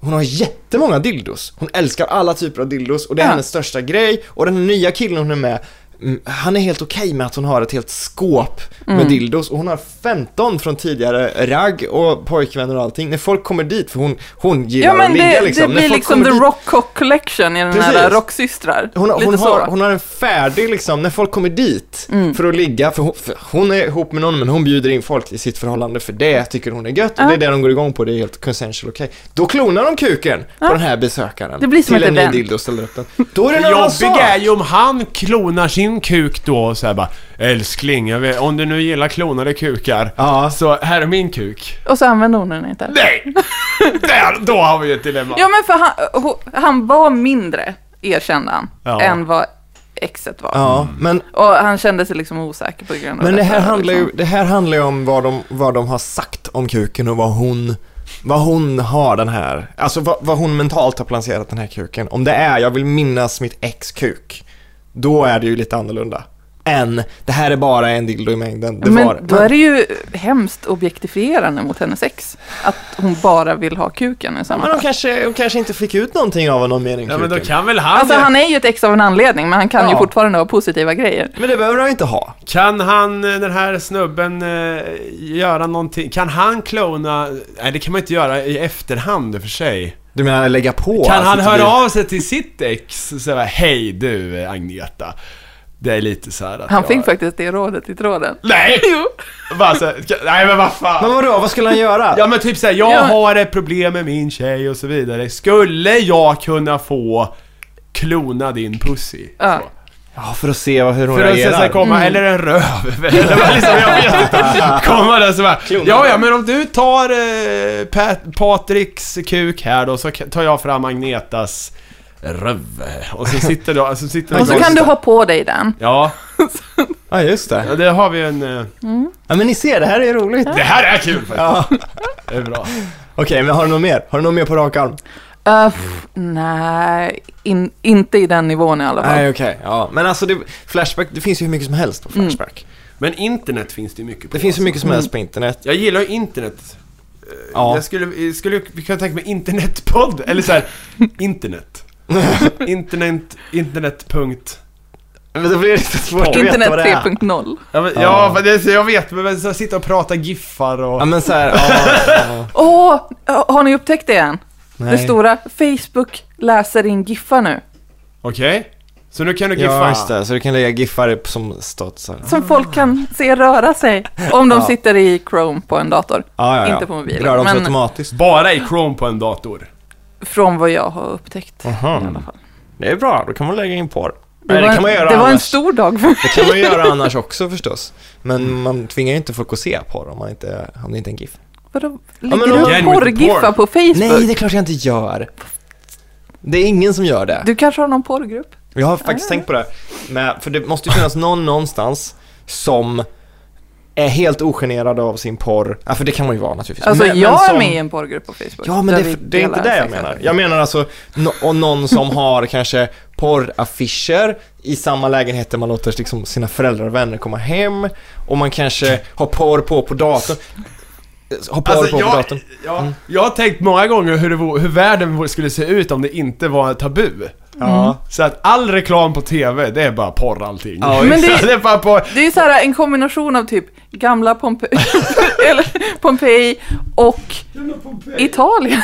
Speaker 2: hon har jättemånga dildos. Hon älskar alla typer av dildos och det är
Speaker 3: Ja.
Speaker 2: hennes största grej. Och den nya killen hon är med, mm, han är helt okej med att hon har ett helt skåp med
Speaker 3: Mm.
Speaker 2: dildos. Och hon har 15 från tidigare ragg och pojkvänner och allting. När folk kommer dit, för hon, hon gillar
Speaker 3: Ja men
Speaker 2: att ligga
Speaker 3: det,
Speaker 2: liksom.
Speaker 3: det
Speaker 2: När
Speaker 3: blir
Speaker 2: folk
Speaker 3: liksom
Speaker 2: kommer
Speaker 3: The
Speaker 2: dit-
Speaker 3: Rock Cock Collection i den här
Speaker 2: Precis.
Speaker 3: Rocksystrar.
Speaker 2: hon, har-
Speaker 3: Lite
Speaker 2: hon,
Speaker 3: så. Mm.
Speaker 2: har, hon har en färdig liksom, när folk kommer dit för att ligga, för hon, för hon är ihop med någon men hon bjuder in folk i sitt förhållande för det tycker hon är gött och det är det de går igång på, det är helt consensual okej. Då klonar de kuken på den här besökaren.
Speaker 3: Det blir som
Speaker 2: till
Speaker 3: ett
Speaker 2: en ny
Speaker 3: event.
Speaker 2: dildo och ställer upp den. Då är
Speaker 1: Det
Speaker 2: det en annan
Speaker 1: jobbiga är
Speaker 2: sak.
Speaker 1: ju om han klonar sin sin kuk då så här bara Älskling, jag vet, om du nu gillar klonade kukar
Speaker 2: Ja.
Speaker 1: så här är min kuk.
Speaker 3: Och så använder hon den inte.
Speaker 1: Nej! Där, då har vi ett dilemma.
Speaker 3: Ja men för han, ho- han var mindre, erkände han,
Speaker 1: Ja.
Speaker 3: än vad exet var.
Speaker 2: Ja, men,
Speaker 3: Och han kände sig liksom osäker på grund av
Speaker 2: men det, här
Speaker 3: detta,
Speaker 2: handlar ju,
Speaker 3: liksom.
Speaker 2: det här handlar ju om vad de, vad de har sagt om kuken och vad hon, vad hon har den här, alltså vad, vad hon mentalt har placerat den här kuken. Om det är, jag vill minnas mitt ex kuk, då är det ju lite annorlunda. Än, det här är bara en dildo i mängden. Det
Speaker 3: Men
Speaker 2: var,
Speaker 3: då är det ju hemskt objektifierande mot hennes ex. Att hon bara vill ha kuken i samma
Speaker 2: Men de
Speaker 3: fall.
Speaker 2: kanske, de kanske inte fick ut någonting av honom mer än
Speaker 1: Ja
Speaker 2: kuken.
Speaker 1: men då kan väl han...
Speaker 3: Alltså han är ju ett ex av en anledning, men han kan ju
Speaker 2: Ja.
Speaker 3: fortfarande ha positiva grejer.
Speaker 2: Men det behöver de inte ha.
Speaker 1: Kan han, eh, den här snubben, eh, göra någonting? Kan han klona... Nej det kan man inte göra i efterhand i och för sig.
Speaker 2: Du menar lägga på?
Speaker 1: Kan
Speaker 2: alltså,
Speaker 1: han
Speaker 2: till
Speaker 1: höra
Speaker 2: det-
Speaker 1: av sig till sitt ex och säga Hej du eh, Agneta. Det är lite så här att
Speaker 3: Han
Speaker 1: jag...
Speaker 3: fick faktiskt det rådet i tråden.
Speaker 1: Nej!
Speaker 3: Jo.
Speaker 1: Bara så, här, nej men vad fan.
Speaker 2: Men vadå, vad skulle han göra?
Speaker 1: Ja men typ såhär, jag
Speaker 3: Ja.
Speaker 1: har ett problem med min tjej och så vidare. Skulle jag kunna få klona din pussy?
Speaker 3: Ja.
Speaker 1: Så.
Speaker 2: Ja, för att se vad- hur hon
Speaker 1: För att sen
Speaker 2: reagerar.
Speaker 1: så här komma,
Speaker 3: Mm.
Speaker 1: eller en röv. Eller vad liksom, jag vet inte. Komma där så bara, ja ja men om du tar eh, Pat- Patriks kuk här då så ka- tar jag fram Agnetas röv. Och så sitter då, alltså sitter
Speaker 3: Och så kan du ha på dig den.
Speaker 1: Ja,
Speaker 2: Ja, just det.
Speaker 1: ja, det har vi en... eh,
Speaker 2: Ja, men ni ser, det här är roligt.
Speaker 1: Det här är kul faktiskt.
Speaker 2: Ja.
Speaker 1: Det är bra.
Speaker 2: Okej, men har du något mer? Har du något mer på rak arm?
Speaker 3: Uh, pff, nej, in, inte i den nivån i alla fall.
Speaker 2: Nej, okej. Ja, men alltså det, Flashback, det finns ju hur mycket som helst på Flashback.
Speaker 1: Men internet finns det ju mycket på. alltså.
Speaker 2: Det finns hur mycket som helst på internet.
Speaker 1: Jag gillar ju internet. Eh,
Speaker 2: Ja.
Speaker 1: Jag skulle, skulle jag kunna tänka mig internetpodd, eller såhär, internet. Internet, internet punkt.
Speaker 2: Men då blir det lite svårt att veta
Speaker 3: Internet
Speaker 2: vad det är.
Speaker 3: 3.0
Speaker 1: Ja, men, ja.
Speaker 2: Ja.
Speaker 1: men det, jag vet, men men så sitta och prata giffar och...
Speaker 2: Ja, men så här, ja,
Speaker 3: Åh, har ni upptäckt det än?
Speaker 2: ja.
Speaker 3: Det stora, Facebook läser in giffar nu.
Speaker 1: Okej? Så nu kan du giffa?
Speaker 2: Ja, just det. Så du kan lägga giffar upp som studsar.
Speaker 3: Som folk kan se röra sig. Om de
Speaker 2: Ah. Ja.
Speaker 3: sitter i Chrome på en dator.
Speaker 2: Ja, ja, ja.
Speaker 3: Inte på mobilen,
Speaker 2: Rör de sig
Speaker 3: men-
Speaker 2: automatiskt.
Speaker 1: Bara i Chrome på en dator.
Speaker 3: Från vad jag har upptäckt. I alla fall.
Speaker 2: Det är bra, då kan man lägga in porr.
Speaker 3: Det,
Speaker 2: Nej,
Speaker 3: var,
Speaker 2: det kan man
Speaker 3: en,
Speaker 2: göra
Speaker 3: det var en
Speaker 2: annars.
Speaker 3: stor dag för mig.
Speaker 2: Det kan man ju göra annars också förstås. Men man tvingar ju inte folk att se porr om, man inte, om det inte är en GIF.
Speaker 3: Vadå?
Speaker 2: men
Speaker 3: Lägger
Speaker 2: om-
Speaker 3: du
Speaker 1: Again with
Speaker 3: upp
Speaker 1: the
Speaker 3: porrgiffar
Speaker 1: porn.
Speaker 3: på Facebook?
Speaker 2: Nej, det är klart jag inte gör. Det är ingen som gör det.
Speaker 3: Du kanske har någon porrgrupp?
Speaker 2: Jag har faktiskt
Speaker 3: Ah.
Speaker 2: tänkt på det. Men, för det måste ju finnas någon någonstans som är helt ogenerad av sin porr. Ja, för det kan man ju vara naturligtvis.
Speaker 3: Alltså
Speaker 2: Men-
Speaker 3: jag
Speaker 2: men som-
Speaker 3: är med i en porrgrupp på Facebook.
Speaker 2: Ja, men
Speaker 3: där
Speaker 2: det, är-
Speaker 3: vi
Speaker 2: det är inte
Speaker 3: delar
Speaker 2: det jag
Speaker 3: sexuella-
Speaker 2: menar. Jag menar alltså, no, och någon som har kanske porraffischer i samma lägenhet där man låter liksom sina föräldrar och vänner komma hem och man kanske har porr på på datorn. Har porr på på
Speaker 1: Alltså, jag,
Speaker 2: datorn.
Speaker 1: jag, Mm. jag har tänkt många gånger hur, det, vore- hur världen skulle se ut om det inte var tabu. Mm.
Speaker 2: Ja.
Speaker 1: Så att all reklam på TV, det är bara porr allting.
Speaker 2: Ja,
Speaker 3: Men just det-
Speaker 1: det är bara porr.
Speaker 3: Det är ju så här en kombination av typ gamla Pompe eller Pompeji och Italien.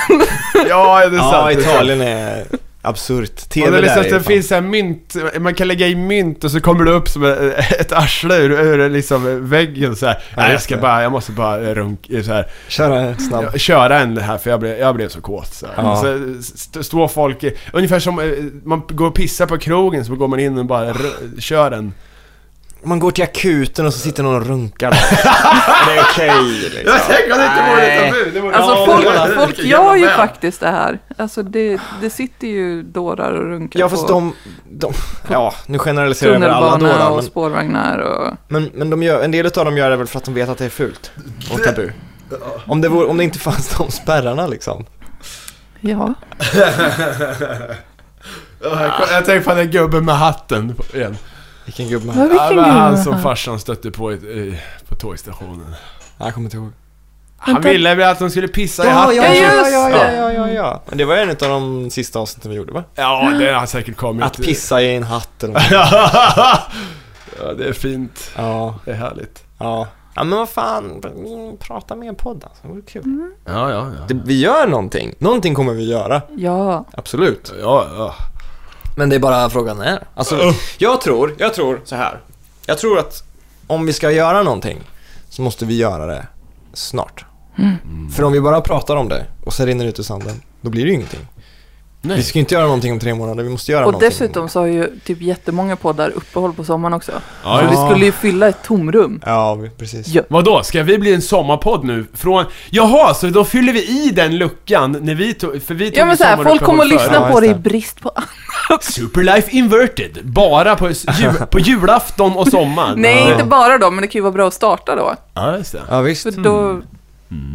Speaker 1: Ja, det är sant.
Speaker 2: Ja,
Speaker 1: det är sant.
Speaker 2: Italien är absurt. TV
Speaker 1: Och det är
Speaker 2: där
Speaker 1: liksom att
Speaker 2: är
Speaker 1: det
Speaker 2: fan-
Speaker 1: finns så här mynt, man kan lägga i mynt och så kommer det upp som ett arsle ur, ur liksom väggen så här. Nej, jag
Speaker 2: just
Speaker 1: ska
Speaker 2: det.
Speaker 1: bara, jag måste bara runka, så här,
Speaker 2: Köra en snabb.
Speaker 1: köra en här för jag blev, jag blev så kåt så, här.
Speaker 2: Ja.
Speaker 1: så st- står folk, i- ungefär som eh, man går och pissar på krogen så går man in och bara r- kör en.
Speaker 2: Man går till akuten och så sitter någon och runkar där. Det är okej liksom.
Speaker 1: tänker att det inte
Speaker 2: Nej.
Speaker 1: tabu! Det vore-
Speaker 3: Alltså
Speaker 1: Ja, det vore-
Speaker 3: folk, folk
Speaker 1: vilken
Speaker 3: gör ju
Speaker 1: jävla värld.
Speaker 3: faktiskt det här. Alltså det, det sitter ju dårar och runkar
Speaker 2: Ja fast
Speaker 3: på
Speaker 2: de, de, ja nu generaliserar jag över alla då,
Speaker 3: tunnelbana
Speaker 2: då
Speaker 3: och
Speaker 2: men,
Speaker 3: spårvagnar och...
Speaker 2: men, men de gör, en del av dem gör det väl för att de vet att det är fult och tabu. Om det, vore, om det inte fanns de spärrarna liksom.
Speaker 3: Ja.
Speaker 1: Ja, jag- Jag tänker på den gubben med hatten på- igen.
Speaker 2: Vilken gubbe.
Speaker 3: Vad
Speaker 1: Ja, det
Speaker 3: vilken
Speaker 1: var han
Speaker 3: gubbe?
Speaker 1: som farsan stötte på i, i, på tågstationen.
Speaker 2: Ja, Jag kommer inte ihåg.
Speaker 1: Han
Speaker 3: Vänta.
Speaker 1: ville väl att de skulle pissa i hatten.
Speaker 3: ja, ja,
Speaker 2: ja,
Speaker 3: ja,
Speaker 2: ja,
Speaker 3: ja,
Speaker 2: ja, ja, ja. Men det var en av de sista avsnitten vi gjorde va?
Speaker 1: Ja, det har säkert kommit.
Speaker 2: Att pissa i en hatt eller något.
Speaker 1: ja, det är fint.
Speaker 2: Ja,
Speaker 1: Det är härligt.
Speaker 2: ja. Ja men vad fan, prata med en podd alltså, det vore kul.
Speaker 1: Ja, ja, ja.
Speaker 2: Det, vi gör någonting, någonting kommer vi göra,
Speaker 3: Ja.
Speaker 2: absolut.
Speaker 1: Ja, ja.
Speaker 2: Men det är bara frågan när. Alltså,
Speaker 1: Ugh.
Speaker 2: jag tror, jag tror så här. Jag tror att om vi ska göra någonting så måste vi göra det Mm. snart. För om vi bara pratar om det och sen rinner det ut i sanden, då blir det ju ingenting.
Speaker 1: Nej.
Speaker 2: Vi ska inte göra någonting om tre månader, vi måste göra
Speaker 3: Och
Speaker 2: någonting.
Speaker 3: dessutom så har ju typ jättemånga poddar uppehåll på sommaren också.
Speaker 1: Ja,
Speaker 3: så
Speaker 1: just-
Speaker 3: vi skulle ju fylla ett tomrum.
Speaker 2: Ja, vi- precis.
Speaker 3: Ja.
Speaker 1: Vadå, ska vi bli en sommarpodd nu? Från... Jaha, så då fyller vi i den luckan när vi tog... För vi tog
Speaker 3: Ja men
Speaker 1: ju
Speaker 3: såhär, folk kommer att
Speaker 1: sommaruppehåll förut.
Speaker 3: lyssna
Speaker 2: Ja,
Speaker 3: på det i
Speaker 2: just det.
Speaker 3: brist på
Speaker 1: Superlife inverted, bara på, s- ju, på julafton och sommaren.
Speaker 3: Nej,
Speaker 1: Ja.
Speaker 3: inte bara då, men det kan ju vara bra att starta då.
Speaker 1: Ja, just det.
Speaker 2: Ja, visst.
Speaker 3: För då...
Speaker 2: Mm.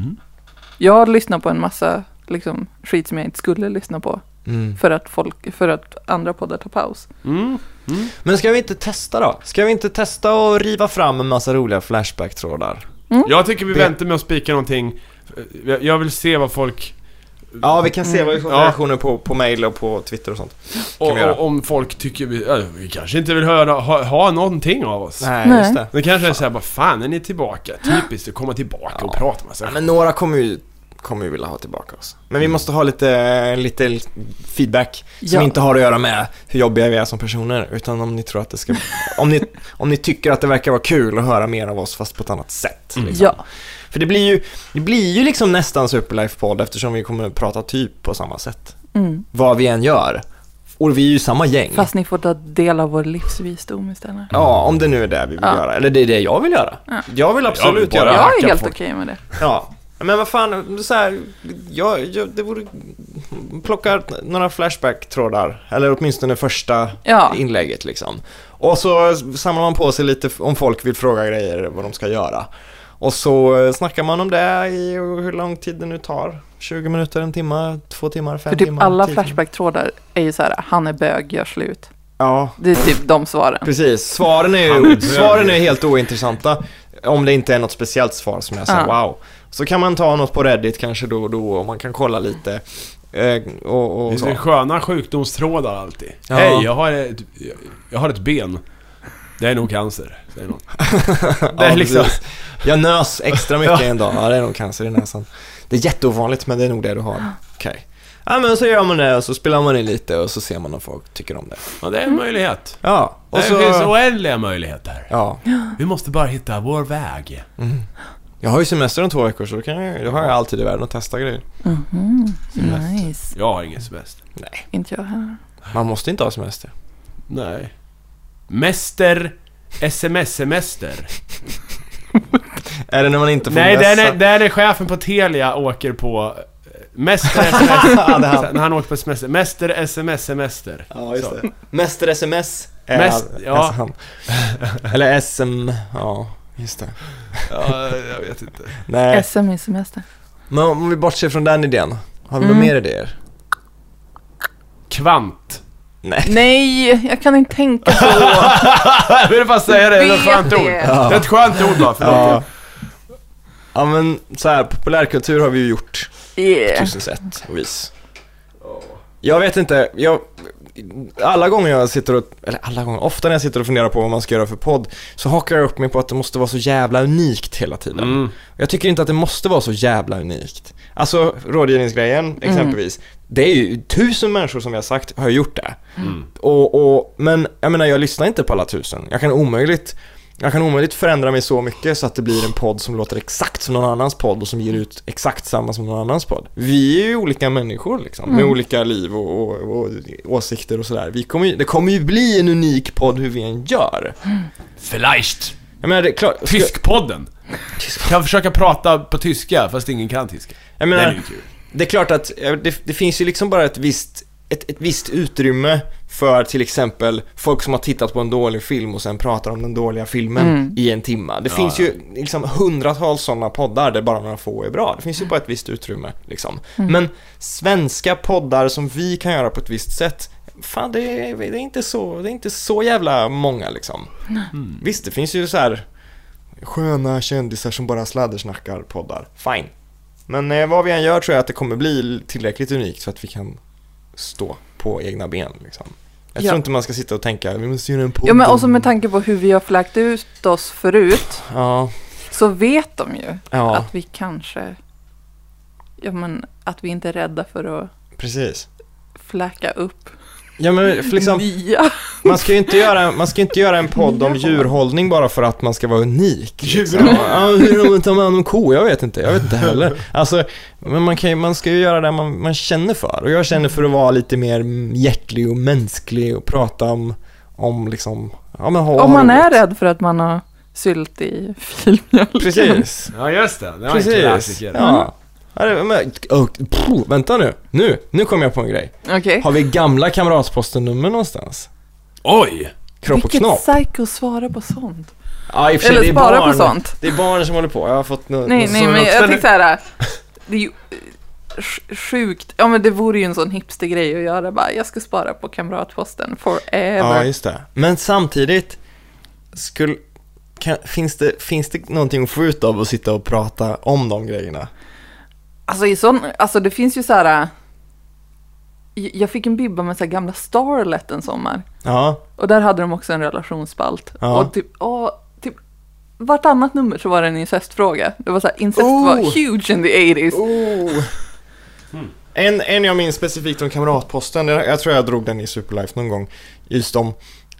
Speaker 3: Jag lyssnar på en massa liksom, skit som jag inte skulle lyssna på.
Speaker 2: Mm.
Speaker 3: För att, folk, för att andra poddar tar paus.
Speaker 1: Mm.
Speaker 2: Men ska vi inte testa då? Ska vi inte testa och riva fram en massa roliga Flashback-trådar?
Speaker 3: Mm.
Speaker 1: Jag tycker vi
Speaker 2: Det-
Speaker 1: väntar med att spika någonting. Jag- Jag vill se vad folk...
Speaker 2: Ja, vi kan
Speaker 3: Mm.
Speaker 2: se vad vi får för
Speaker 1: Ja.
Speaker 2: reaktioner på, på mail och på Twitter och sånt.
Speaker 1: Och,
Speaker 2: vi göra.
Speaker 1: och om folk tycker vi... ja, Vi kanske inte vill höra, ha, ha någonting av oss.
Speaker 2: Nej,
Speaker 3: Nej.
Speaker 2: just det.
Speaker 1: Det kanske är såhär, vad fan är ni tillbaka? Typiskt att komma tillbaka och prata massa
Speaker 2: Ja,
Speaker 1: skit.
Speaker 2: men några kommer ju, kommer ju vilja ha tillbaka oss. Men vi måste ha lite, lite feedback som
Speaker 3: Ja.
Speaker 2: inte har att göra med hur jobbiga vi är som personer, utan om ni tror att det ska, om ni, om ni tycker att det verkar vara kul att höra mer av oss fast på ett annat sätt. Liksom.
Speaker 3: Ja.
Speaker 2: För det blir ju, det blir ju liksom nästan Superlife-podd eftersom vi kommer prata typ på samma sätt.
Speaker 3: Mm.
Speaker 2: Vad vi än gör. Och vi är ju samma gäng.
Speaker 3: Fast ni får ta del av vår livsvisdom istället.
Speaker 2: Ja, om det nu är det vi vill
Speaker 3: Ja.
Speaker 2: göra. Eller det är det jag vill göra. Jag vill absolut
Speaker 1: bara-
Speaker 2: göra
Speaker 1: Ja,
Speaker 3: Jag är
Speaker 1: hacka
Speaker 3: helt
Speaker 1: på-
Speaker 3: okej med det.
Speaker 2: Ja, men vad fan, så här, jag, jag, det vore, plocka några flashback-trådar, eller åtminstone första
Speaker 3: Ja.
Speaker 2: inlägget liksom. Och så samlar man på sig lite f- om folk vill fråga grejer, vad de ska göra. Och så eh, snackar man om det i hur lång tid det nu tar. 20 minuter, en timme, två timmar, fem
Speaker 3: För typ
Speaker 2: timmar.
Speaker 3: alla
Speaker 2: tio timmar.
Speaker 3: Flashback-trådar är ju så här, han är bög, gör slut.
Speaker 2: Ja,
Speaker 3: Det är typ de svaren.
Speaker 2: precis. Svaren är ju svaren är helt ointressanta. Om det inte är något speciellt svar som jag säger
Speaker 3: Ja.
Speaker 2: wow. Så kan man ta något på Reddit kanske då och då och man kan kolla lite. Eh, och, och
Speaker 1: Det är
Speaker 2: så.
Speaker 1: sköna sjukdomstrådar alltid.
Speaker 2: Ja.
Speaker 1: Hej, jag har, ett, jag har ett ben. Det är nog cancer, säger någon. Det är
Speaker 2: Ja,
Speaker 1: liksom...
Speaker 2: precis. Jag nös extra mycket en dag. Ja, det är nog cancer i näsan. Det är jätteovanligt men det är nog det du har. Okej. Ja men så gör man det och så spelar man in lite och så ser man om folk tycker om det.
Speaker 1: Ja, det är en möjlighet.
Speaker 2: Ja, Mm. och
Speaker 1: det finns
Speaker 2: så...
Speaker 1: oändliga möjligheter.
Speaker 2: Ja.
Speaker 1: Vi måste bara hitta vår väg.
Speaker 2: Jag har ju semester om två veckor så då, kan jag, då har jag alltid i världen att testa grejer.
Speaker 3: Nice.
Speaker 1: Jag har ingen semester.
Speaker 2: Nej,
Speaker 3: Inte jag heller.
Speaker 2: man måste inte ha semester.
Speaker 1: Nej. Mäster... SMS-semester.
Speaker 2: Är det när man inte får
Speaker 1: Nej,
Speaker 2: mässa?
Speaker 1: där är, där är chefen på Telia åker på... eh, Mäster SMS...
Speaker 2: Ja, det är han.
Speaker 1: När han åker på semester. Mäster SMS-semester.
Speaker 2: Ja, just
Speaker 1: Så.
Speaker 2: det. Mäster SMS. är
Speaker 1: Mäst-
Speaker 2: all-
Speaker 1: ja.
Speaker 2: alltså han. Eller SM, ja, just det.
Speaker 1: Ja, jag vet inte.
Speaker 2: Nej,
Speaker 3: SM i semester.
Speaker 2: men om vi bortser från den idén, har vi
Speaker 3: Mm.
Speaker 2: några mer idéer?
Speaker 1: Kvant.
Speaker 2: Nej.
Speaker 3: Nej, jag kan inte tänka så.
Speaker 1: Jag ville bara säga det, det är ett
Speaker 3: Vet
Speaker 1: skönt
Speaker 3: det.
Speaker 1: ord. Det är ett skönt ord bara, förlåt.
Speaker 2: Ja. ja, men så här, populärkultur har vi ju gjort
Speaker 3: Yeah.
Speaker 2: tusen sätt och vis. Jag vet inte, jag, alla gånger jag sitter och, eller alla gånger, ofta när jag sitter och funderar på vad man ska göra för podd, så hakar jag upp mig på att det måste vara så jävla unikt hela tiden.
Speaker 1: Mm.
Speaker 2: Jag tycker inte att det måste vara så jävla unikt. Alltså rådgivningsgrejen exempelvis. Det är ju tusen människor som vi har sagt har gjort det. Och, och, men jag menar jag lyssnar inte på alla tusen. Jag kan omöjligt jag kan omöjligt förändra mig så mycket så att det blir en podd som låter exakt som någon annans podd och som ger ut exakt samma som någon annans podd. Vi är ju olika människor liksom, med olika liv och, och, och åsikter och sådär. Vi kommer ju, det kommer ju bli en unik podd hur vi än gör.
Speaker 1: Vielleicht.
Speaker 2: Jag menar, det är klart... ska-
Speaker 1: Tyskpodden. Kan försöka prata på tyska, fast ingen kan tyska.
Speaker 2: jag
Speaker 1: Det
Speaker 2: menar,
Speaker 1: är ju kul.
Speaker 2: Det är klart att eh, det, det finns ju liksom bara ett visst, ett, ett visst utrymme för till exempel folk som har tittat på en dålig film och sen pratar om den dåliga filmen i en timma. Det finns ju liksom hundratals sådana poddar där bara några få är bra. Det finns ju bara ett visst utrymme liksom. Men svenska poddar som vi kan göra på ett visst sätt, fan det är, det är, inte, så, det är inte så jävla många liksom. Visst, det finns ju så här sköna kändisar som bara sladdersnackar poddar. Fine. Men eh, vad vi än gör tror jag att det kommer bli tillräckligt unikt för att vi kan stå på egna ben liksom. Jag
Speaker 3: Ja.
Speaker 2: tror inte man ska sitta och tänka, vi måste göra en podd.
Speaker 3: Ja, men
Speaker 2: om-"
Speaker 3: också med tanke på hur vi har fläkt ut oss förut.
Speaker 2: Ja,
Speaker 3: så vet de ju
Speaker 2: Ja.
Speaker 3: att vi kanske, ja men att vi inte är rädda för att
Speaker 2: precis.
Speaker 3: fläka upp.
Speaker 2: Ja, men liksom,
Speaker 3: Ja.
Speaker 2: man, ska ju inte göra, man ska ju inte göra en podd om djurhållning bara för att man ska vara unik. Liksom. Ja, hur de tar man hand om ko? Jag vet inte. Jag vet inte heller. Alltså, men man, kan ju, man ska ju göra det man, man känner för. Och jag känner för att vara lite mer hjärtlig och mänsklig och prata om, om liksom, ja men ha
Speaker 3: Om man
Speaker 2: roligt.
Speaker 3: är rädd för att man har sylt i filmjölken.
Speaker 2: Precis.
Speaker 1: Ja just det, det var en
Speaker 2: Precis.
Speaker 1: klassiker.
Speaker 2: Ja. Ja, det- men, och, pff, vänta nu. Nu, nu kom jag på en grej.
Speaker 3: Okej.
Speaker 2: Har vi gamla kamratposten-nummer någonstans?
Speaker 1: Oj!
Speaker 2: Kropp och knopp?
Speaker 3: Vilket psycho svarar på sånt?
Speaker 2: Ja, i och för sig,
Speaker 3: Eller
Speaker 2: det är
Speaker 3: spara på
Speaker 2: barn.
Speaker 3: sånt.
Speaker 2: Det är barn som håller på. Jag har fått nå-
Speaker 3: Nej,
Speaker 2: nå-
Speaker 3: nej,
Speaker 2: så-
Speaker 3: men
Speaker 1: ställer-
Speaker 3: jag tänkte såhär. Det är ju eh, sj- sjukt. Ja, men det vore ju en sån hipstergrej att göra bara. Jag ska spara på kamratposten
Speaker 2: Ja,
Speaker 3: forever.
Speaker 2: just det. Men samtidigt, skulle, kan, finns, det, finns det någonting att få ut av att sitta och prata om de grejerna?
Speaker 3: Alltså, i sån, alltså det finns ju såhär. Jag fick en bibba med så här gamla Starlet en sommar.
Speaker 2: Ja,
Speaker 3: Och där hade de också en relationsspalt.
Speaker 2: Ja.
Speaker 3: Och typ, åh, typ vartannat nummer så var det en incestfråga. Det var så här, incest var
Speaker 2: Oh!
Speaker 3: huge in the 80s.
Speaker 2: Oh. En, en jag minns specifikt om Kamratposten, jag, jag tror jag drog den i Superlife någon gång. Just om,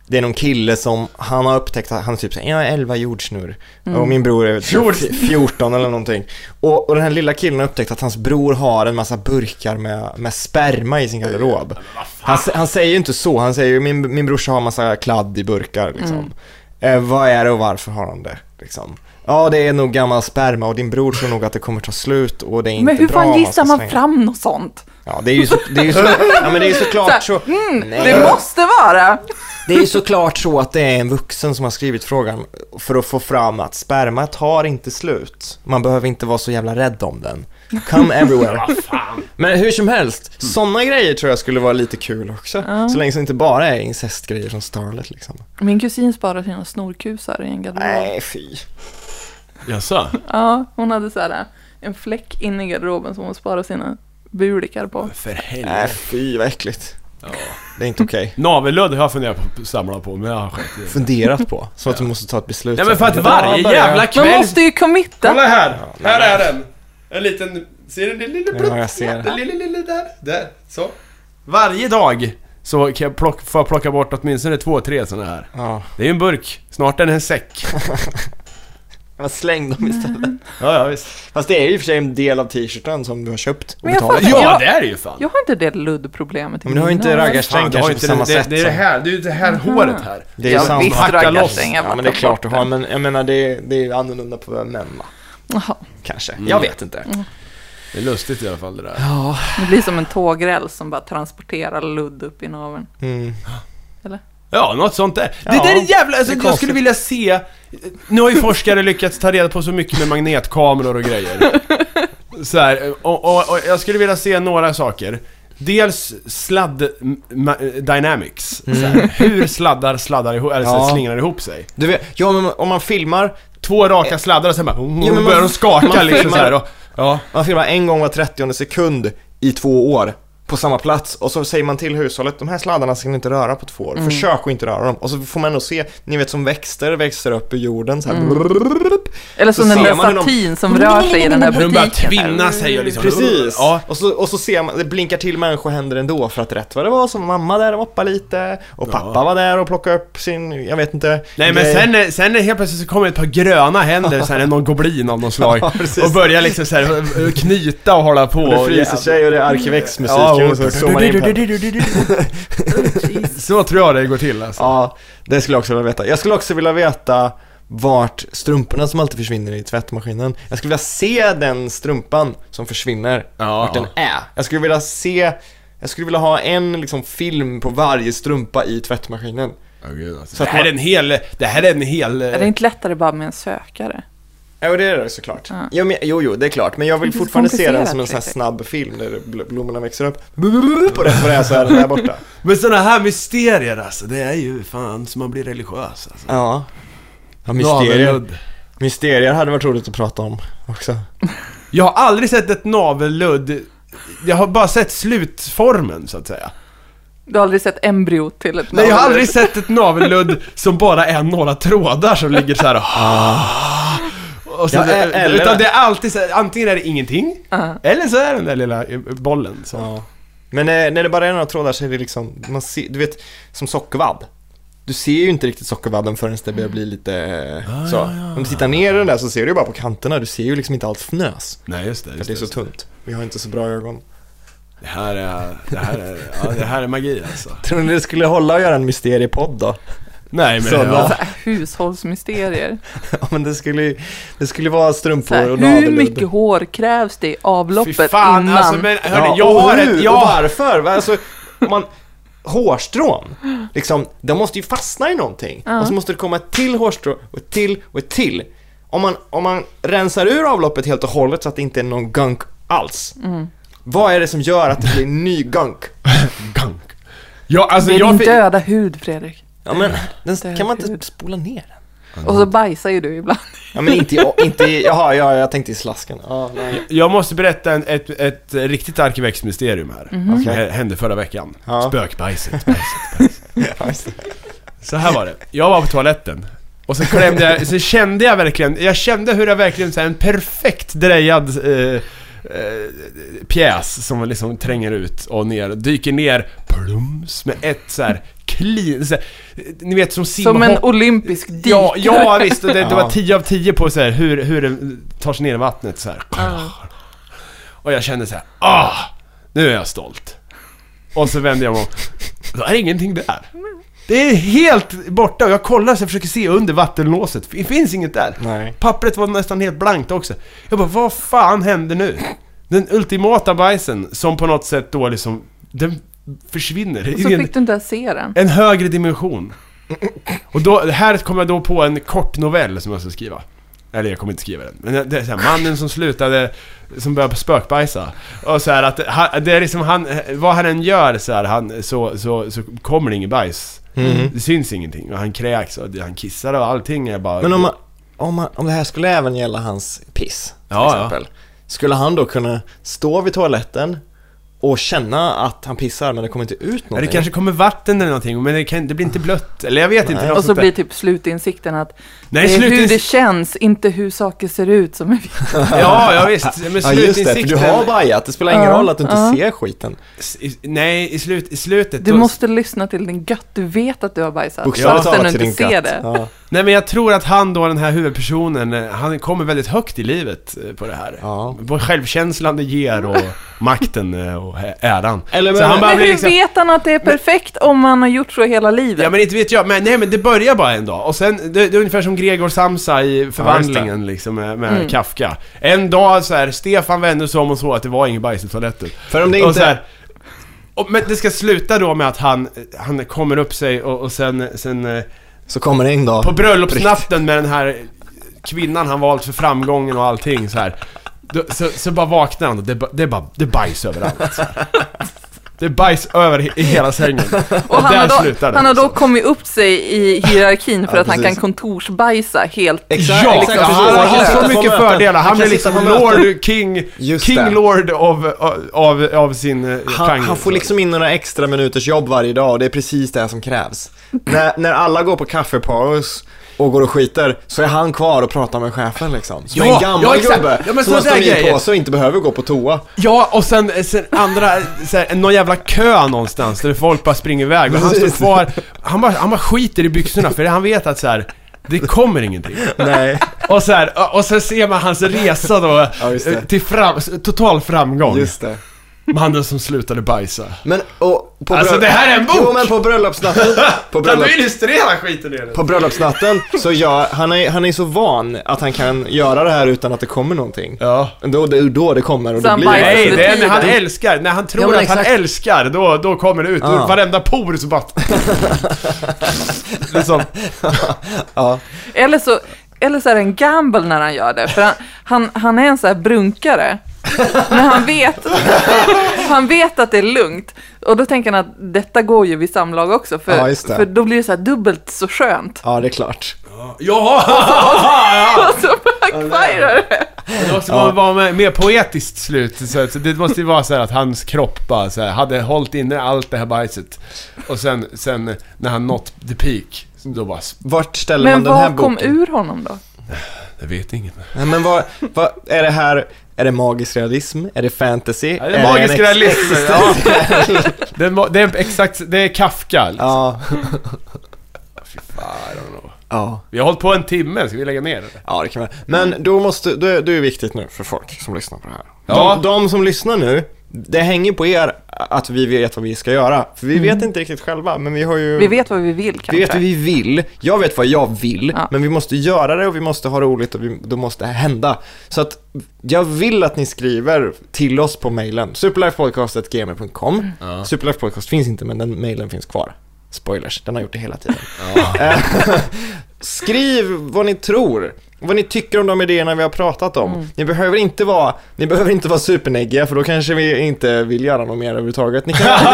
Speaker 2: det är någon kille som, han har upptäckt att han är typ såhär, jag är 11 jordsnurr.
Speaker 3: Mm.
Speaker 2: Och min bror är typ 14 eller någonting. Och, och den här lilla killen har upptäckt att hans bror har en massa burkar med, med sperma i sin garderob. Han, s- han säger ju inte så, han säger ju min, min brorsa har massa kladd i burkar liksom.
Speaker 3: Mm.
Speaker 2: Eh, vad är det och varför har han det? Liksom. Ja, det är nog gammal sperma och din bror tror nog att det kommer ta slut och det är inte
Speaker 3: Men hur
Speaker 2: bra. om
Speaker 3: fan
Speaker 2: ska
Speaker 3: gissar man
Speaker 2: slänga.
Speaker 3: fram något sånt?
Speaker 2: Ja, det är ju, så, det är ju, så, ja, men det är ju såklart så.
Speaker 3: Mm,
Speaker 2: Nej.
Speaker 3: det måste vara!
Speaker 2: Det är ju såklart så att det är en vuxen som har skrivit frågan för att få fram att sperma tar inte slut. Man behöver inte vara så jävla rädd om den. Come everywhere. Men hur som helst, sådana grejer tror jag skulle vara lite kul också. Så länge det inte bara är incestgrejer från Starlet liksom.
Speaker 3: Min kusin sparade sina snorkusar i en garderob.
Speaker 2: Nej, fy.
Speaker 1: Jaså?
Speaker 3: Ja, hon hade så här äh, en fläck inne i garderoben som hon sparade sina bulikar på.
Speaker 1: För
Speaker 2: Nej,
Speaker 1: helvete.
Speaker 2: fy vad äckligt.
Speaker 1: Ja.
Speaker 2: Det är inte okej.
Speaker 1: Navelludd har jag funderat på att samla på, men jag har skett i det.
Speaker 2: Funderat på, så att du måste ta ett beslut.
Speaker 1: Nej men för att
Speaker 2: Ja,
Speaker 1: varje
Speaker 2: börja.
Speaker 1: jävla
Speaker 3: Man
Speaker 1: kväll...
Speaker 3: måste ju committa!
Speaker 1: Kolla här! Här är den! En liten... Ser du den lilla
Speaker 2: Ja, jag ser.
Speaker 1: Den lilla, lilla där. Där. Så. Varje dag så kan jag plocka, får jag plocka bort åtminstone två, tre sådana här.
Speaker 2: Ja.
Speaker 1: Det är ju en burk. Snart är det en säck.
Speaker 2: Men släng dem istället.
Speaker 1: Ja, ja visst.
Speaker 2: Fast det är ju i och för sig en del av t-shirten som du har köpt och
Speaker 3: Men jag
Speaker 2: betalat
Speaker 3: fattar-
Speaker 2: för.
Speaker 1: Ja,
Speaker 3: Ja.
Speaker 1: det är det ju fan.
Speaker 3: Jag har inte det luddproblemet i
Speaker 2: Ja, Men du har ju inte
Speaker 3: mina-
Speaker 2: raggarsträng
Speaker 1: Fan, du har
Speaker 2: kanske
Speaker 1: ju
Speaker 2: på
Speaker 1: inte
Speaker 2: samma
Speaker 1: det, Mm.
Speaker 2: sätt.
Speaker 1: det, det är det här, det är ju det här håret här.
Speaker 2: Det är ju
Speaker 3: Ja,
Speaker 2: samma.
Speaker 3: visst
Speaker 1: Hacka loss.
Speaker 3: raggarsträng, jag
Speaker 2: Ja, men det
Speaker 3: bara
Speaker 2: är klart du
Speaker 3: tar
Speaker 2: har,
Speaker 3: bort
Speaker 2: men jag menar det är, det är ju annorlunda på män va?
Speaker 3: den. Jaha,
Speaker 2: Kanske.
Speaker 1: Mm.
Speaker 2: Jag vet inte.
Speaker 1: Det är lustigt i alla fall det där.
Speaker 2: Ja.
Speaker 3: Det blir som en tågräls som bara transporterar ludd upp i naveln.
Speaker 2: Mm.
Speaker 1: Ja, något sånt där. Det
Speaker 2: Ja,
Speaker 1: där är jävla...
Speaker 2: det
Speaker 1: Alltså,
Speaker 2: är
Speaker 1: jag
Speaker 2: konstigt.
Speaker 1: skulle vilja se... Nu har ju forskare lyckats ta reda på så mycket med magnetkameror och grejer. Så här, och, och, och jag skulle vilja se några saker. Dels sladd ma- dynamics. Så här, hur sladdar sladdar ihop, eller så här,
Speaker 2: Mm. Ja.
Speaker 1: slingrar ihop sig.
Speaker 2: Du vet, ja men om man filmar,
Speaker 1: Två raka sladdar och sen bara...
Speaker 2: Eh, men man-
Speaker 1: börjar de skaka
Speaker 2: man
Speaker 1: liksom så här,
Speaker 2: filmar-
Speaker 1: och, Ja.
Speaker 2: man filmar en gång var 30 sekund i två år på samma plats och så säger man till hushållet de här sladdarna ska ni inte röra på två år.
Speaker 3: Mm.
Speaker 2: Försök att inte röra dem. Och så får man nog se, ni vet som växter växer upp ur jorden så här.
Speaker 3: Eller som
Speaker 2: Så
Speaker 3: den
Speaker 2: ser
Speaker 3: där
Speaker 2: man hur de-
Speaker 3: statyn som rör sig i den där
Speaker 1: Hur de börjar
Speaker 3: butiken.
Speaker 1: tvinna sig och liksom...
Speaker 2: Precis!
Speaker 1: Ja.
Speaker 2: Och, så, och så ser man, det blinkar till människohänder ändå för att rätt vad det var så var mamma där och moppade lite och pappa var där och plockade upp sin, jag vet inte
Speaker 1: Nej men
Speaker 2: grej.
Speaker 1: sen, är- sen är helt plötsligt så kommer ett par gröna händer, sen är någon goblin av något slag
Speaker 2: Ja, precis.
Speaker 1: och börjar liksom så här knyta och hålla på
Speaker 2: Och det fryser sig och det är Arkivex-musik och så zoomar in på den.
Speaker 1: Så tror jag det går till alltså.
Speaker 2: Ja, det skulle jag också vilja veta. Jag skulle också vilja veta vart strumporna som alltid försvinner i tvättmaskinen. Jag skulle vilja se den strumpan som försvinner,
Speaker 1: Ja.
Speaker 2: vart den är. Jag skulle vilja se, jag skulle vilja ha en liksom film på varje strumpa i tvättmaskinen.
Speaker 1: Så att det här är en hel, det här är en hel...
Speaker 3: Är det inte lättare bara med en sökare?
Speaker 2: Ja, det är det såklart.
Speaker 3: Ja.
Speaker 2: Jo, men, jo, jo, det är klart. Men jag vill
Speaker 3: Det är så
Speaker 2: fortfarande se den som en
Speaker 3: komplicerat,
Speaker 2: sån här
Speaker 3: Fredrik.
Speaker 2: snabb film där bl- blommorna växer upp. Och det, och det är så här där borta.
Speaker 1: eh, Men sådana här mysterier alltså, det är ju fan så man blir religiös alltså.
Speaker 2: Ja. ja mysterier.
Speaker 1: Navelludd.
Speaker 2: mysterier hade varit roligt att prata om också.
Speaker 1: Jag har aldrig sett ett navelludd, jag har bara sett slutformen så att säga.
Speaker 3: Du har aldrig sett embryo till ett
Speaker 1: Nej jag har
Speaker 3: navelludd?
Speaker 1: aldrig sett ett navelludd som bara är några trådar som ligger så här och, och så,
Speaker 2: Ah. Ja, e- eller- Ah.
Speaker 1: Utan det är alltid så här, antingen är det ingenting,
Speaker 3: Ja.
Speaker 1: eller så är det den där lilla eh, bollen så.
Speaker 2: Ja. Men eh, när det bara är några trådar så är det liksom, man ser, du vet, som sockervadd. Du ser ju inte riktigt sockervadden förrän det börjar bli lite eh, så. Om du tittar ner i den där så ser du ju bara på kanterna, du ser ju liksom inte allt fnös.
Speaker 1: Nej, just det.
Speaker 2: För
Speaker 1: Just
Speaker 2: att det är så
Speaker 1: just
Speaker 2: tunt. Vi har inte så bra ögon.
Speaker 1: Det här är, det här är, ja, det här är magi alltså.
Speaker 2: Tror ni det skulle hålla att göra en mysteriepodd då?
Speaker 1: Nej men
Speaker 2: Sådana.
Speaker 1: ja.
Speaker 3: Så här, hushållsmysterier.
Speaker 2: Ja men det skulle ju- det skulle vara
Speaker 3: Så
Speaker 2: strumpor
Speaker 3: här,
Speaker 2: och
Speaker 3: hur
Speaker 2: navelludd.
Speaker 3: mycket hår krävs det i avloppet
Speaker 1: Fy fan,
Speaker 3: innan?
Speaker 1: alltså men hörni,
Speaker 2: Ja,
Speaker 1: jag
Speaker 2: och
Speaker 1: har
Speaker 2: hur
Speaker 1: ett,
Speaker 2: och
Speaker 1: jag,
Speaker 2: varför? Va, Alltså, om man, hårstrån, liksom, de måste ju fastna i någonting. Och så måste det komma ett till hårstrå och ett till och ett till. Om man, om man rensar ur avloppet helt och hållet så att det inte är någon gunk alls.
Speaker 3: Mm.
Speaker 2: Vad är det som gör att det blir ny gunk?
Speaker 1: gunk. Jag, alltså
Speaker 3: det är din
Speaker 1: jag fick,
Speaker 3: döda hud Fredrik.
Speaker 2: Ja men, den,
Speaker 3: Död
Speaker 2: kan man inte
Speaker 3: hud.
Speaker 2: spola ner den?
Speaker 3: Och så bajsar ju du ibland.
Speaker 2: Ja men inte, i- inte i- jaha, ja, jag tänkte i slasken. Ja, nej.
Speaker 1: jag måste berätta en, ett, ett riktigt arkivex-mysterium här. Som
Speaker 2: Mhm. Okej.
Speaker 1: hä- hände förra veckan.
Speaker 2: Ja.
Speaker 1: Spökbajset. bajset.
Speaker 2: Ja, just det.
Speaker 1: Så här var det, jag var på toaletten. Och så klämde jag, så kände jag verkligen, jag kände hur jag verkligen så här, en perfekt drejad eh, eh, pjäs som liksom tränger ut och ner, dyker ner, plums, med ett så här clean, så här, eh, ni vet som simhopp.
Speaker 3: Som en olympisk dykare.
Speaker 1: Ja, ja visst, och det, det
Speaker 2: Ja.
Speaker 1: var 10 av 10 på så här, hur, hur den tar sig ner i vattnet så här. Och jag kände så här, ah, nu är jag stolt. Och så vände jag mig om, då är ingenting där. Det är helt borta och jag kollar så jag försöker se under vattenlåset, det finns inget där.
Speaker 2: Nej.
Speaker 1: Pappret var nästan helt blankt också. Jag bara, vad fan hände nu? Den ultimata bajsen som på något sätt då liksom, den försvinner.
Speaker 3: Så
Speaker 1: I en-
Speaker 3: fick du inte ens se den.
Speaker 1: en högre dimension. Och då, här kommer jag då på en kort novell som jag ska skriva. Eller jag kommer inte skriva den. Men det är så här, mannen som slutade, som började spökbajsa. Och så här att, han, det är liksom han, vad han än gör så här, han, så, så, så kommer det ingen bajs.
Speaker 2: Mm.
Speaker 1: Det syns ingenting. Och han kräks och han kissar och allting är bara...
Speaker 2: Men om, man, om, man, om det här skulle även gälla hans piss, till
Speaker 1: Ja, ja.
Speaker 2: exempel. Skulle han då kunna stå vid toaletten och känna att han pissar men det kommer inte ut
Speaker 1: Ja, det
Speaker 2: någonting?
Speaker 1: kanske kommer vatten eller någonting, men det, kan, det blir inte blött. Eller jag vet inte. något
Speaker 3: Och så
Speaker 1: sånt där.
Speaker 3: blir typ slutinsikten att
Speaker 1: Nej,
Speaker 3: det är hur
Speaker 1: slutins-
Speaker 3: det känns, inte hur saker ser ut som är viktigt.
Speaker 1: Ja, ja visst. Men
Speaker 2: Ja just det, för du
Speaker 1: slutinsikten-
Speaker 2: har bajat. Det spelar ingen
Speaker 3: Ja,
Speaker 2: roll att du inte
Speaker 3: ja.
Speaker 2: ser skiten.
Speaker 1: S- i- Nej, i, slut, i slutet...
Speaker 3: Du
Speaker 1: då-
Speaker 3: måste lyssna till din gött, du vet att du har bajsat.
Speaker 2: Bokstavligt
Speaker 3: fastän
Speaker 2: talat
Speaker 3: du
Speaker 2: till
Speaker 3: inte
Speaker 2: din
Speaker 3: ser
Speaker 2: katt.
Speaker 3: det.
Speaker 2: Ja.
Speaker 1: Nej men jag tror att han då, den här huvudpersonen, eh, han kommer väldigt högt i livet eh, på det här.
Speaker 2: Ja.
Speaker 1: På självkänslan det ger och makten eh, och ä- äran.
Speaker 2: Eller
Speaker 1: så
Speaker 2: men-
Speaker 1: han bara
Speaker 3: Men
Speaker 1: blir
Speaker 3: hur
Speaker 1: liksom,
Speaker 3: vet han att det är perfekt om man har gjort så hela livet?
Speaker 1: Ja men inte vet jag, men nej men det börjar bara en dag. Och sen, det, det är ungefär som Gregor Samsa i förvandlingen liksom med, med Kafka. En dag så här, Stefan vände sig om och såg att det var ingen bajs i toaletten.
Speaker 2: För om det
Speaker 1: Och
Speaker 2: inte...
Speaker 1: så här, och, men det ska sluta då med att han, han kommer upp sig och, och sen, sen eh,
Speaker 2: så kommer det en dag.
Speaker 1: På bröllopsnatten med den här kvinnan han valt för framgången och allting så här. Då- Så, så bara vaknar han och det, är ba- det, är bara, det är bajs överallt. Så här. Det är bajs över he- i hela sängen. Och,
Speaker 3: Och han,
Speaker 1: där
Speaker 3: har då,
Speaker 1: slutar det.
Speaker 3: han har då kommit upp sig i hierarkin för
Speaker 2: Ja,
Speaker 3: att han
Speaker 2: precis.
Speaker 3: kan kontorsbajsa helt.
Speaker 2: Exakt,
Speaker 1: Ja,
Speaker 2: exakt,
Speaker 1: liksom, han
Speaker 2: precis.
Speaker 1: har
Speaker 2: Han kan
Speaker 1: så
Speaker 2: sitta på
Speaker 1: mycket
Speaker 2: möten.
Speaker 1: fördelar.
Speaker 2: Han
Speaker 1: Han blir
Speaker 2: kan sitta
Speaker 1: liksom
Speaker 2: på möten.
Speaker 1: Lord King,
Speaker 2: Just
Speaker 1: King
Speaker 2: det.
Speaker 1: Lord av, av, av sin eh,
Speaker 2: Han,
Speaker 1: genre.
Speaker 2: han får liksom in några extra minuters jobb varje dag och det är precis det som krävs. när, när alla går på kaffepaus och går och skiter så är han kvar och pratar med chefen liksom. Som
Speaker 1: Ja,
Speaker 2: en gammal
Speaker 1: ja, exakt.
Speaker 2: gubbe
Speaker 1: Ja, men
Speaker 2: som har
Speaker 1: sådana där grejer.
Speaker 2: stearinpåse och inte behöver gå på toa.
Speaker 1: Ja, och sen, eh, sen andra, så här, någon jävla kö någonstans där folk bara springer iväg och han står
Speaker 2: Precis.
Speaker 1: kvar. Han bara, han bara skiter i byxorna för han vet att så här, det kommer ingenting.
Speaker 2: Nej.
Speaker 1: Och, så här, och- och sen ser man hans resa då eh,
Speaker 2: Ja, just det.
Speaker 1: till fram, total framgång.
Speaker 2: Just det.
Speaker 1: Mannen som slutade bajsa.
Speaker 2: Men och på
Speaker 1: Alltså,
Speaker 2: bröll-
Speaker 1: det här är en bok!
Speaker 2: Jo men på bröllopsnatten, på, bröllop,
Speaker 1: illustrera skiten i det?
Speaker 2: på bröllopsnatten så gör, han är, han är så van att han kan göra det här utan att det kommer någonting.
Speaker 1: Ja.
Speaker 2: Då, det är då det kommer och
Speaker 3: Så
Speaker 2: då
Speaker 3: han
Speaker 2: blir det.
Speaker 3: bajsar
Speaker 1: Nej,
Speaker 3: under
Speaker 1: det är när han
Speaker 3: tiden.
Speaker 1: älskar. När han
Speaker 2: Ja,
Speaker 1: tror
Speaker 2: men
Speaker 1: att han
Speaker 2: exakt.
Speaker 1: älskar, då, då kommer det ut.
Speaker 2: Ja.
Speaker 1: Ur varenda por så bara... liksom.
Speaker 2: Ja.
Speaker 3: Eller så, eller så är det en gamble när han gör det, för han, han, han är en sån här brunkare. Men han vet, han vet att det är lugnt. Och då tänker han att detta går ju vid samlag också, för,
Speaker 2: Ja, just det.
Speaker 3: för då blir det så här dubbelt så skönt.
Speaker 2: ja, det är klart.
Speaker 1: Ja!
Speaker 3: Och så backfirar det.
Speaker 1: Det måste vara, vara med- mer poetiskt slut. Så att- så det måste ju vara så här att hans kropp bara så här, hade hållit inne allt det här bajset. Och sen, sen när han nått the peak, då bara...
Speaker 2: Vart ställer
Speaker 3: Men
Speaker 2: man den här
Speaker 3: vad
Speaker 2: boken?
Speaker 3: kom ur honom då?
Speaker 1: Jag vet inget.
Speaker 2: Nej, men vad, vad, är det här, Är det magisk realism? Är det fantasy?
Speaker 1: Ja, det är magisk
Speaker 2: en ex-
Speaker 1: realism. Ja. Det, är, ma- det är exakt, det är Kafka. Liksom.
Speaker 2: Ja.
Speaker 1: Fy fan, I don't know.
Speaker 2: ja.
Speaker 1: Vi har hållit på en timme, ska vi lägga ner det?
Speaker 2: Ja, det kan man. Men då måste, då är, då är det viktigt nu för folk som lyssnar på det här.
Speaker 1: Ja.
Speaker 2: De, de som lyssnar nu, det hänger på er att vi vet vad vi ska göra. För vi
Speaker 1: Mm.
Speaker 2: vet inte riktigt själva, men vi har ju...
Speaker 3: Vi vet vad vi vill kanske.
Speaker 2: vi vet vad vi vill, jag vet vad jag vill,
Speaker 3: Ja.
Speaker 2: men vi måste göra det och vi måste ha roligt och vi, då måste det hända. Så att jag vill att ni skriver till oss på mejlen, superlifepodcast.gmail.com.
Speaker 1: Ja.
Speaker 2: Superlife Podcast finns inte, men den mejlen finns kvar. Spoilers, den har gjort det hela tiden. Eh, Skriv vad ni tror, vad ni tycker om de idéerna vi har pratat om.
Speaker 3: Mm.
Speaker 2: Ni, behöver inte vara, ni behöver inte vara superneggiga, för då kanske vi inte vill göra något mer överhuvudtaget. Ni kan, ni kan,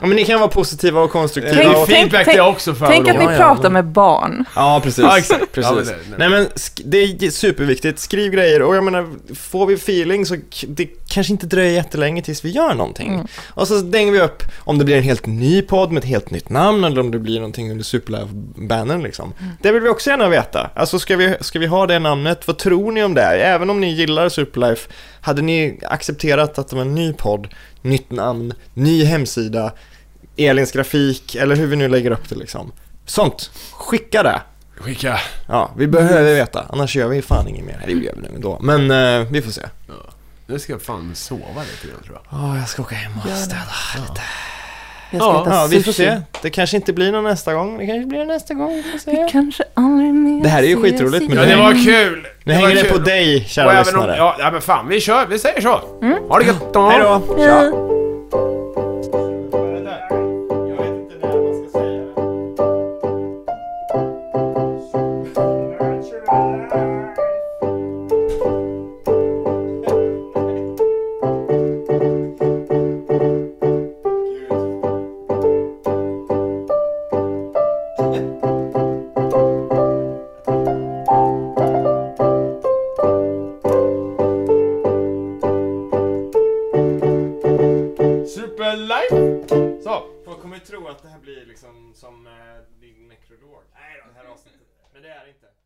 Speaker 2: ja, men ni kan vara positiva och konstruktiva.
Speaker 3: Tänk-
Speaker 2: och,
Speaker 1: Feedback
Speaker 3: tänk-
Speaker 1: är också för
Speaker 3: Tänk att ni
Speaker 2: Ja, ja,
Speaker 3: pratar
Speaker 2: men-
Speaker 3: med barn.
Speaker 2: Ja, precis.
Speaker 1: Ja, exakt.
Speaker 2: precis.
Speaker 1: Ja, men det- nej.
Speaker 2: nej. men sk- det är superviktigt. Skriv grejer och jag menar, får vi feeling så k- det kanske inte dröjer jättelänge tills vi gör någonting. Och så dänger vi upp om det blir en helt ny podd med ett helt nytt namn eller om det blir någonting under Superlive-bannern liksom. Det vill vi också gärna veta. Alltså ska vi, ska vi ha det namnet? Vad tror ni om det? Även om ni gillar Superlife, hade ni accepterat att det var en ny podd, nytt namn, ny hemsida, Elins grafik eller hur vi nu lägger upp det liksom. Sånt, skicka det.
Speaker 1: Skicka.
Speaker 2: Ja, vi behöver veta, annars gör vi fan inget mer. Det gör vi nu ändå, men eh, vi får se.
Speaker 1: Nu ska jag fan sova lite grann tror jag.
Speaker 2: Ja, jag ska åka hem och städa lite.
Speaker 3: Jag ska
Speaker 1: Ja,
Speaker 3: äta
Speaker 2: Ja, vi får
Speaker 3: sushi.
Speaker 2: se. Det kanske inte blir någon nästa gång, det kanske blir nästa gång, vi får
Speaker 3: Vi
Speaker 2: se.
Speaker 3: kanske aldrig mer
Speaker 2: Det här är ju
Speaker 3: ses
Speaker 2: skitroligt, men
Speaker 1: Ja,
Speaker 3: igen.
Speaker 1: det var kul!
Speaker 2: Nu hänger
Speaker 1: var
Speaker 2: det på
Speaker 1: kul.
Speaker 2: dig,
Speaker 1: Och
Speaker 2: kära
Speaker 1: även om,
Speaker 2: lyssnare.
Speaker 1: ja, ja, men fan, vi kör, vi säger så.
Speaker 3: Mm.
Speaker 1: Ha det gött då.
Speaker 2: Hej då!
Speaker 3: Hej.
Speaker 1: Superlife! Så.
Speaker 2: Folk eh, kommer tro att det här blir liksom som din nekrolog. Nej då. Det här avsnittet. Men det är det inte.